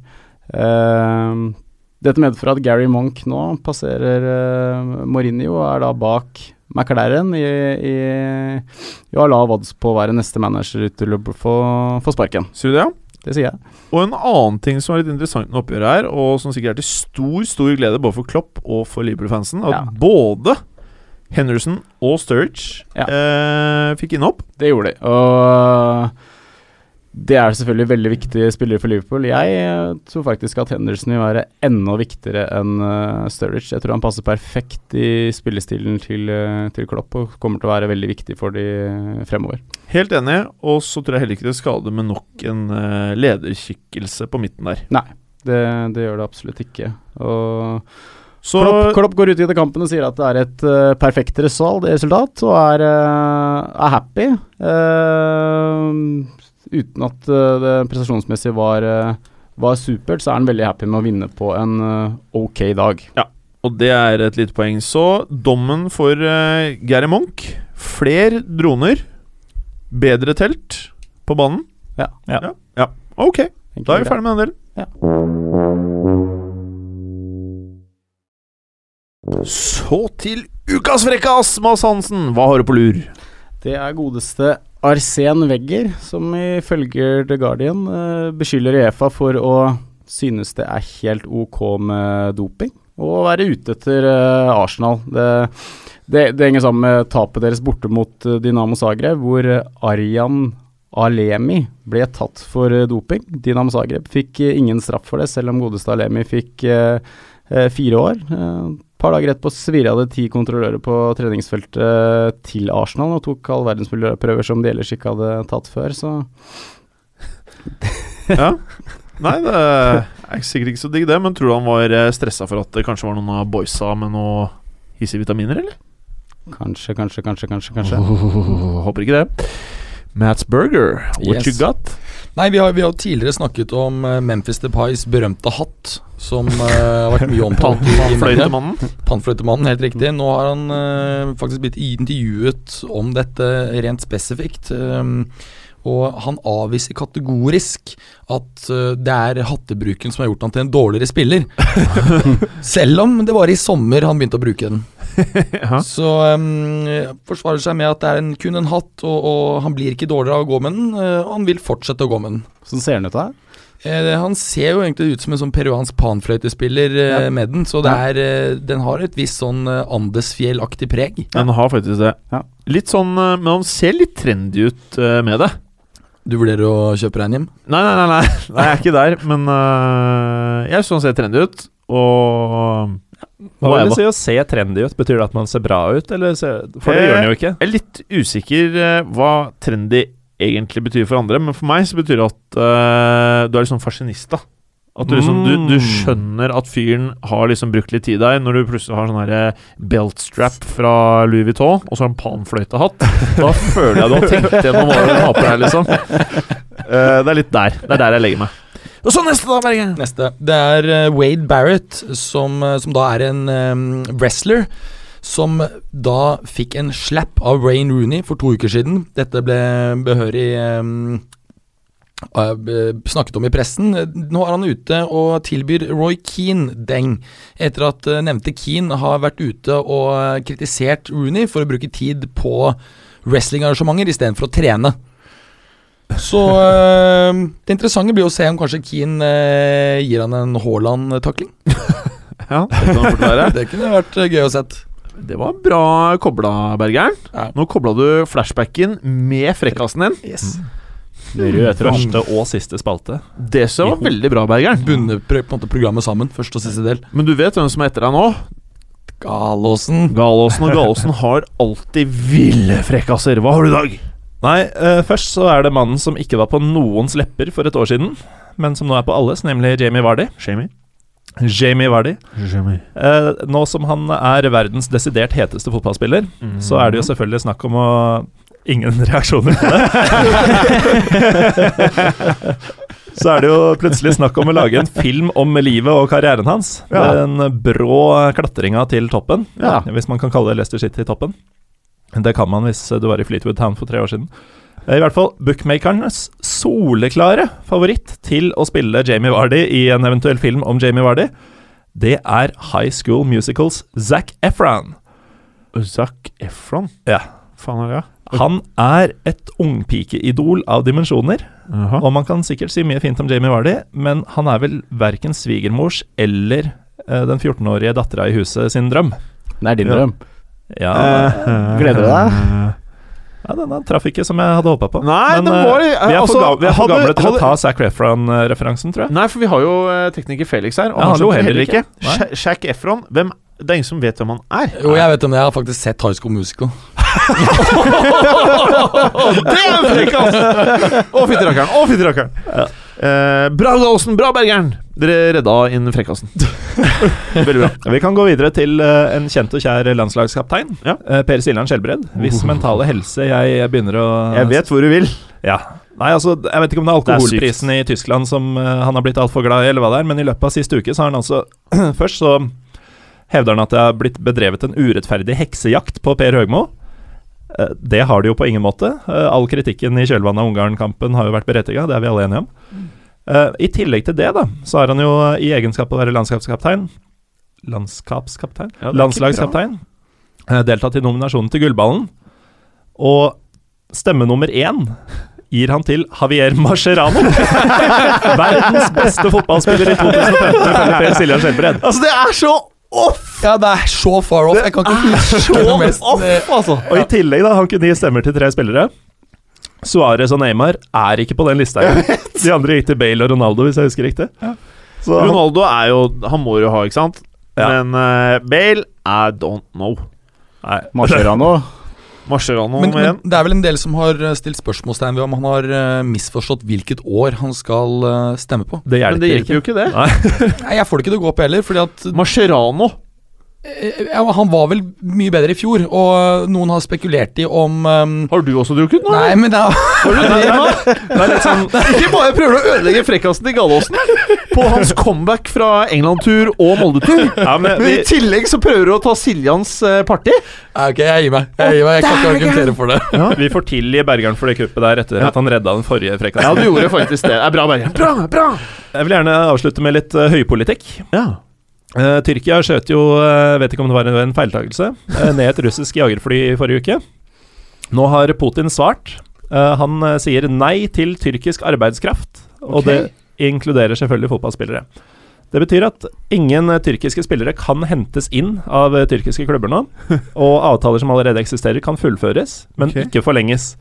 Speaker 3: Eh, dette medfører at Gary Monk nå passerer eh, Mourinho og er da bak McLaren i, i, i å ha lav odds på å være neste manager til å b- få, få sparken.
Speaker 1: Sier du det? ja?
Speaker 3: Det sier jeg.
Speaker 1: Og en annen ting som er litt interessant med oppgjøret her, og som sikkert er til stor stor glede både for Klopp og for Liverpool-fansen, er at
Speaker 3: Ja.
Speaker 1: både Henderson og Sturridge
Speaker 3: Ja.
Speaker 1: eh, fikk innhopp.
Speaker 3: Det gjorde de. Og det er selvfølgelig veldig viktige spillere for Liverpool. Jeg eh, tror faktisk at Henderson vil være enda viktigere enn eh, Sturridge. Jeg tror han passer perfekt i spillestilen til, eh, til Klopp og kommer til å være veldig viktig for de eh, fremover.
Speaker 1: Helt enig, og så tror jeg heller ikke det skader med nok en eh, lederskikkelse på midten der.
Speaker 3: Det, det gjør det absolutt ikke. Og
Speaker 1: Så
Speaker 3: Klopp, Klopp går ut i kampen og sier at det er et eh, perfekt result, resultat, og er, eh, er happy. Eh, uten at eh, det prestasjonsmessig var, eh, var supert, så er han veldig happy med å vinne på en eh, ok dag.
Speaker 1: Og det er et lite poeng. Så dommen for uh, Gary Monk Fler droner, bedre telt på banen.
Speaker 3: Ja.
Speaker 2: Ja.
Speaker 1: ja. ja. Ok,
Speaker 3: Enkelt
Speaker 1: da er vi
Speaker 3: og greit.
Speaker 1: ferdig med den delen.
Speaker 3: Ja.
Speaker 1: Så til ukas frekkas, Mads Hansen. Hva har du på lur?
Speaker 3: Det er godeste Arsen Wegger, som ifølge The Guardian eh, beskylder Uefa for å synes det er helt ok med doping, og være ute etter eh, Arsenal. Det, det, det henger sammen med tapet deres borte mot eh, Dinamo Zagreb, hvor eh, Arjan Alemi ble tatt for eh, doping. Dinamo Zagreb fikk eh, ingen straff for det, selv om godeste Alemi fikk eh, eh, fire år. Eh, par dager etterpå svirra det ti kontrollører på treningsfeltet til Arsenal og tok all verdens miljøprøver som de ellers ikke hadde tatt før, så
Speaker 1: Ja. Nei, det er sikkert ikke så digg, det. Men tror du han var stressa for at det kanskje var noen av boysa med noe hissige vitaminer, eller?
Speaker 3: kanskje, kanskje, kanskje, kanskje. kanskje.
Speaker 1: Oh, håper ikke det. Mats Burger, what
Speaker 4: Yes.
Speaker 1: you got?
Speaker 4: Nei, vi har vi har jo tidligere snakket om eh, Memphis Depies berømte hatt, som eh, har vært mye omtalt i i mediene.
Speaker 1: Fløytemannen.
Speaker 4: Pannfløytemannen, helt riktig. Nå har han eh, faktisk blitt intervjuet om dette rent spesifikt. eh, og han avviser kategorisk at eh, det er hattebruken som har gjort han til en dårligere spiller. Selv om det var i sommer han begynte å bruke den.
Speaker 1: Ja.
Speaker 4: Så eh, forsvarer seg med at det er en, kun en hatt, og, og han blir ikke dårligere av å gå med den. eh, og han vil fortsette å gå med den.
Speaker 3: Sånn ser den ut her.
Speaker 4: Eh, han ser jo egentlig ut som en sånn peruansk panfløytespiller eh,
Speaker 3: Ja.
Speaker 4: med den, så det er, eh, den har et visst sånn eh, Andesfjell-aktig preg.
Speaker 1: Den har faktisk det.
Speaker 3: Ja.
Speaker 1: Litt sånn eh, Men han ser litt trendy ut eh, med det.
Speaker 4: Du vurderer å kjøpe deg en hjem?
Speaker 1: Nei, nei, nei, nei, nei jeg er ikke der, men eh, jeg syns han ser trendy ut, og
Speaker 2: Hva
Speaker 1: Hva er det?
Speaker 2: vil det si å se trendy ut? Betyr det at man ser bra ut, eller ser, For det
Speaker 1: Eh,
Speaker 2: gjør den jo ikke.
Speaker 1: Jeg er litt usikker eh, hva trendy egentlig betyr for andre, men for meg så betyr det at eh, du er liksom fascinista. At du, liksom, du, du
Speaker 2: Mm.
Speaker 1: skjønner at fyren har liksom brukt litt tid der, når du plutselig har sånn her, eh, belt strap fra Louis Vuitton, og så har du en panfløytehatt. Da føler jeg du har tenkt gjennom hva du har på deg, liksom. Eh, det er litt der. Det er der jeg legger meg. Og så neste, da, Bergen.
Speaker 4: Neste. Det er eh, Wade Barrett, som, eh, som da er en eh, wrestler. Som da fikk en slap av Wayne Rooney for to uker siden. Dette ble behørig eh, eh, be- snakket om i pressen. Nå er han ute og tilbyr Roy Keane deng, etter at eh, nevnte Keane har vært ute og eh, kritisert Rooney for å bruke tid på wrestlingarrangementer istedenfor å trene. Så eh, det interessante blir å se om kanskje Keane eh, gir han en Haaland-takling.
Speaker 1: Ja, det kan fort være.
Speaker 4: Det kunne vært eh, gøy å sett.
Speaker 1: Det var bra kobla, Bergeren.
Speaker 4: Ja.
Speaker 1: Nå kobla du flashbacken med frekkasen din.
Speaker 2: Rød første og siste spalte.
Speaker 1: Det synes jeg var veldig bra, Bergeren.
Speaker 4: Bundet pro- på en måte programmet sammen, første og siste del.
Speaker 1: Men du vet hvem som er etter deg nå?
Speaker 4: Galåsen.
Speaker 1: Galåsen og Galåsen har alltid ville frekkaser. Hva har du i dag?
Speaker 2: Nei, eh, først så er det mannen som ikke var på noens lepper for et år siden, men som nå er på alles, nemlig Jamie Vardy.
Speaker 1: Jamie.
Speaker 2: Jamie Vardy. Eh,
Speaker 1: Mhm.
Speaker 2: nå som han er verdens desidert heteste fotballspiller, så er det jo selvfølgelig snakk om å ingen reaksjoner på det. Så er det jo plutselig snakk om å lage en film om livet og karrieren hans.
Speaker 1: Ja.
Speaker 2: Den brå klatringa til toppen,
Speaker 1: Ja.
Speaker 2: hvis man kan kalle Leicester City toppen. Det kan man hvis du var i Fleetwood Town for tre år siden. Eh, I hvert fall bookmakernes soleklare favoritt til å spille Jamie Vardy i en eventuell film om Jamie Vardy, det er High School Musicals Zac Efron.
Speaker 1: Zac Efron?
Speaker 2: Ja.
Speaker 1: Faen er det,
Speaker 2: Han er et ungpikeidol av dimensjoner.
Speaker 1: ja?
Speaker 2: Og man kan sikkert si mye fint om Jamie Vardy, men han er vel verken svigermors eller eh, den 14-årige dattera i huset sin drøm.
Speaker 3: Det er din
Speaker 1: Ja.
Speaker 3: drøm.
Speaker 2: Ja,
Speaker 3: Eh, gleder du
Speaker 1: deg?
Speaker 2: ja denne traff ikke som jeg hadde håpa på.
Speaker 1: Nei,
Speaker 2: men
Speaker 1: det
Speaker 2: eh,
Speaker 1: var
Speaker 2: vi er
Speaker 1: altså,
Speaker 2: for, ga vi er for
Speaker 1: hadde-
Speaker 2: gamle til
Speaker 1: hadde-
Speaker 2: å ta Zac Refron-referansen, tror jeg.
Speaker 1: Nei, for vi har jo eh, tekniker Felix her, og
Speaker 2: Ja,
Speaker 1: han,
Speaker 2: han lo
Speaker 1: skjønte
Speaker 2: heller
Speaker 1: heller ikke.
Speaker 2: ikke. Nei.
Speaker 1: Sha- Zac Efron, hvem Det er ingen som vet hvem han er.
Speaker 4: Jo, jeg vet om det. Jeg har faktisk sett High School Musical.
Speaker 1: Det er en frekk, ass! Å, fytterakkeren. Å, fytterakkeren. Eh, bra, Galsen. Bra, Bergeren. Dere redda inn frekkasen. Veldig bra.
Speaker 2: Vi kan gå videre til eh, en kjent og kjær landslagskaptein.
Speaker 1: Ja.
Speaker 2: Eh, per Siljan Skjelbred. Hvis mentale helse jeg, jeg begynner å
Speaker 1: Jeg vet hvor du vil.
Speaker 2: Ja. Nei, altså, jeg vet ikke om det
Speaker 1: Det
Speaker 2: er
Speaker 1: er sykt.
Speaker 2: alkoholprisen i Tyskland som eh, han har blitt altfor glad i, eller hva det er, men i løpet av siste uke så har han altså Først så hevder han at det har blitt bedrevet en urettferdig heksejakt på Per Høgmo. Eh, Det har det jo på ingen måte. Eh, All kritikken i kjølvannet av Ungarn-kampen har jo vært berettiga, det er vi alle enige om.
Speaker 1: Mm.
Speaker 2: Eh, I tillegg til det, da, så har han jo eh, i egenskap av å være landskapskaptein Landskapskaptein?
Speaker 1: Ja, det er ikke
Speaker 2: landslagskaptein. eh, Deltatt i nominasjonen til Gullballen. Og stemme nummer én gir han til Javier Mascherano. Verdens beste fotballspiller i 2015, ifølge Per Siljan Skjelbred.
Speaker 1: Altså, det er så off!
Speaker 4: Ja, det er så far off. Jeg kan ikke huske
Speaker 1: Så
Speaker 4: noe mest.
Speaker 1: off, altså!
Speaker 2: Og i tillegg, da, han kunne gi stemmer til tre spillere. Suárez og Neymar er ikke på den lista. engang. De andre gikk til Bale og Ronaldo, hvis jeg husker riktig. Så han-
Speaker 1: Ronaldo er jo Han må jo ha, ikke sant?
Speaker 2: Ja.
Speaker 1: Men eh, Bale I don't know.
Speaker 2: nei.
Speaker 3: Mascherano.
Speaker 1: Mascherano
Speaker 4: Men,
Speaker 1: om igjen.
Speaker 4: men det er vel en del som har eh, stilt spørsmålstegn ved om han har eh, misforstått hvilket år han skal eh, stemme på.
Speaker 2: Det hjelper
Speaker 1: Men det hjelper
Speaker 2: ikke.
Speaker 1: jo ikke, det.
Speaker 4: Nei, Jeg får det ikke til å gå opp heller, fordi at
Speaker 1: Mascherano.
Speaker 4: eh, ja, han var vel mye bedre i fjor, og eh, noen har spekulert i om eh,
Speaker 1: Har du også drukket nå?
Speaker 4: Nei, men det er,
Speaker 1: Har du det, sånn- da? Ikke bare prøver du å ødelegge frekkasen til Gallåsen på hans comeback fra England-tur og Molde-tur,
Speaker 2: Ja, men
Speaker 1: men i
Speaker 2: vi,
Speaker 1: tillegg så prøver du å ta Siljans eh, parti.
Speaker 4: Nei, Ok, jeg gir meg. Jeg, gir meg. jeg kan ikke argumentere for det.
Speaker 2: vi får tilgi Bergeren for det kuppet der etter at han redda den
Speaker 1: Ja,
Speaker 2: forrige frekkasen.
Speaker 1: du gjorde faktisk det. Det er bra, Bergen. Bra, bra!
Speaker 2: Jeg vil gjerne avslutte med litt eh, høypolitikk.
Speaker 1: Ja.
Speaker 2: Eh, Tyrkia skjøt jo, eh, vet ikke om det var en- en feiltagelse, eh, ned et russisk jagerfly i forrige uke. Nå har Putin svart. Eh, han eh, sier nei til tyrkisk arbeidskraft, og det inkluderer selvfølgelig fotballspillere. Det betyr at ingen eh, tyrkiske spillere kan hentes inn av eh, tyrkiske klubber nå, og avtaler som allerede eksisterer kan fullføres, men
Speaker 1: Ok.
Speaker 2: ikke forlenges.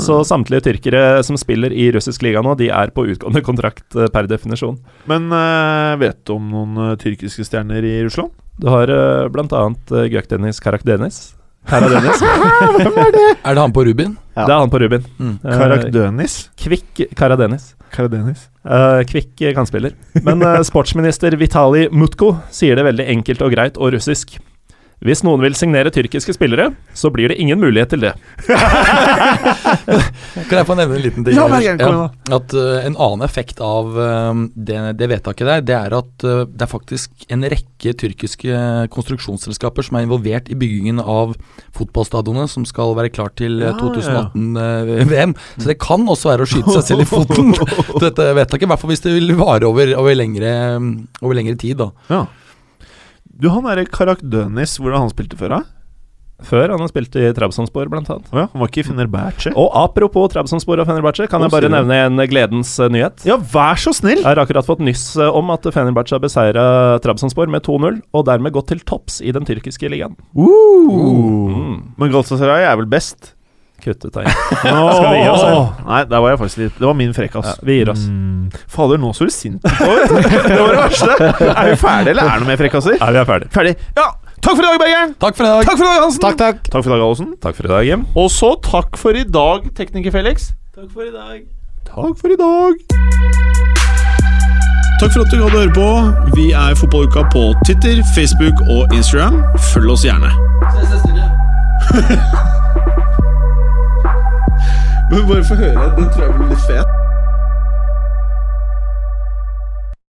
Speaker 2: Så samtlige tyrkere som spiller i russisk liga nå, de er på utgående kontrakt eh, per definisjon.
Speaker 1: Men eh, vet du om noen eh, tyrkiske stjerner i Russland?
Speaker 2: Du har eh, blant annet eh, Gökdenis Karakdenis. Karadeniz.
Speaker 4: Er det han på Rubin?
Speaker 3: Ja.
Speaker 2: Det er han på Rubin.
Speaker 4: Mm.
Speaker 2: Eh,
Speaker 1: Karakdønis?
Speaker 2: Kvikk Karadenis.
Speaker 1: Karadønis.
Speaker 2: Eh, kvikk eh, kantspiller. Men eh, sportsminister Vitali Mutko sier det veldig enkelt og greit og russisk. Hvis noen vil signere tyrkiske spillere, så blir det ingen mulighet til det.
Speaker 4: Kan jeg få nevne en liten ting?
Speaker 1: Ja,
Speaker 4: ellers?
Speaker 1: Bergen, kom igjen
Speaker 4: At eh, En annen effekt av eh, det, det vedtaket der, det er at eh, det er faktisk en rekke tyrkiske konstruksjonsselskaper som er involvert i byggingen av fotballstadionene som skal være klar til eh,
Speaker 1: Ja, ja, ja.
Speaker 4: 2018-VM. Så det kan også være å skyte seg selv i foten, dette vedtaket. I hvert fall hvis det vil vare over, over, lengre, over lengre tid, da.
Speaker 1: Ja. Du, han derre Karakdønis, hvordan han spilte før, da?
Speaker 2: Før han har spilt i Trabzonspor, blant annet.
Speaker 1: Å ja, han var ikke i Fenerbahçe?
Speaker 2: Og apropos Trabzonspor og Fenerbahçe, kan
Speaker 1: Å,
Speaker 2: jeg bare
Speaker 1: sier du.
Speaker 2: nevne en gledens eh, nyhet.
Speaker 1: Ja, vær så snill!
Speaker 2: Jeg har akkurat fått nyss eh, om at Fenerbahçe har beseira Trabzonspor med 2-0, og dermed gått til topps i den tyrkiske ligaen.
Speaker 1: Uh.
Speaker 2: Mm.
Speaker 1: Men Galatasaray er vel best?
Speaker 2: Kuttet deg.
Speaker 1: Skal
Speaker 2: vi gi oss her?
Speaker 1: Nei, der var jeg faktisk litt Det var min frekkas.
Speaker 2: Ja, vi gir oss.
Speaker 1: Mm. Fader, nå så du sint ut. Det var det verste. Er vi ferdige, eller er det noe mer frekkaser?
Speaker 2: Nei, vi er ferdig.
Speaker 1: Ferdig. Ja! Takk for i dag, Bergeren!
Speaker 4: Takk for i dag!
Speaker 1: Takk for i dag, Hansen!
Speaker 3: Takk, takk.
Speaker 1: Takk for i dag, Gallosen.
Speaker 2: Takk for i dag, Jim.
Speaker 1: Og så takk for i dag, tekniker Felix. Takk for i dag.
Speaker 5: Takk for at du hadde høre på. Vi er Fotballuka på Twitter, Facebook og Instagram. Følg oss gjerne.
Speaker 6: Se, se, Silje.
Speaker 7: Men bare få høre. Den tror jeg blir litt fet.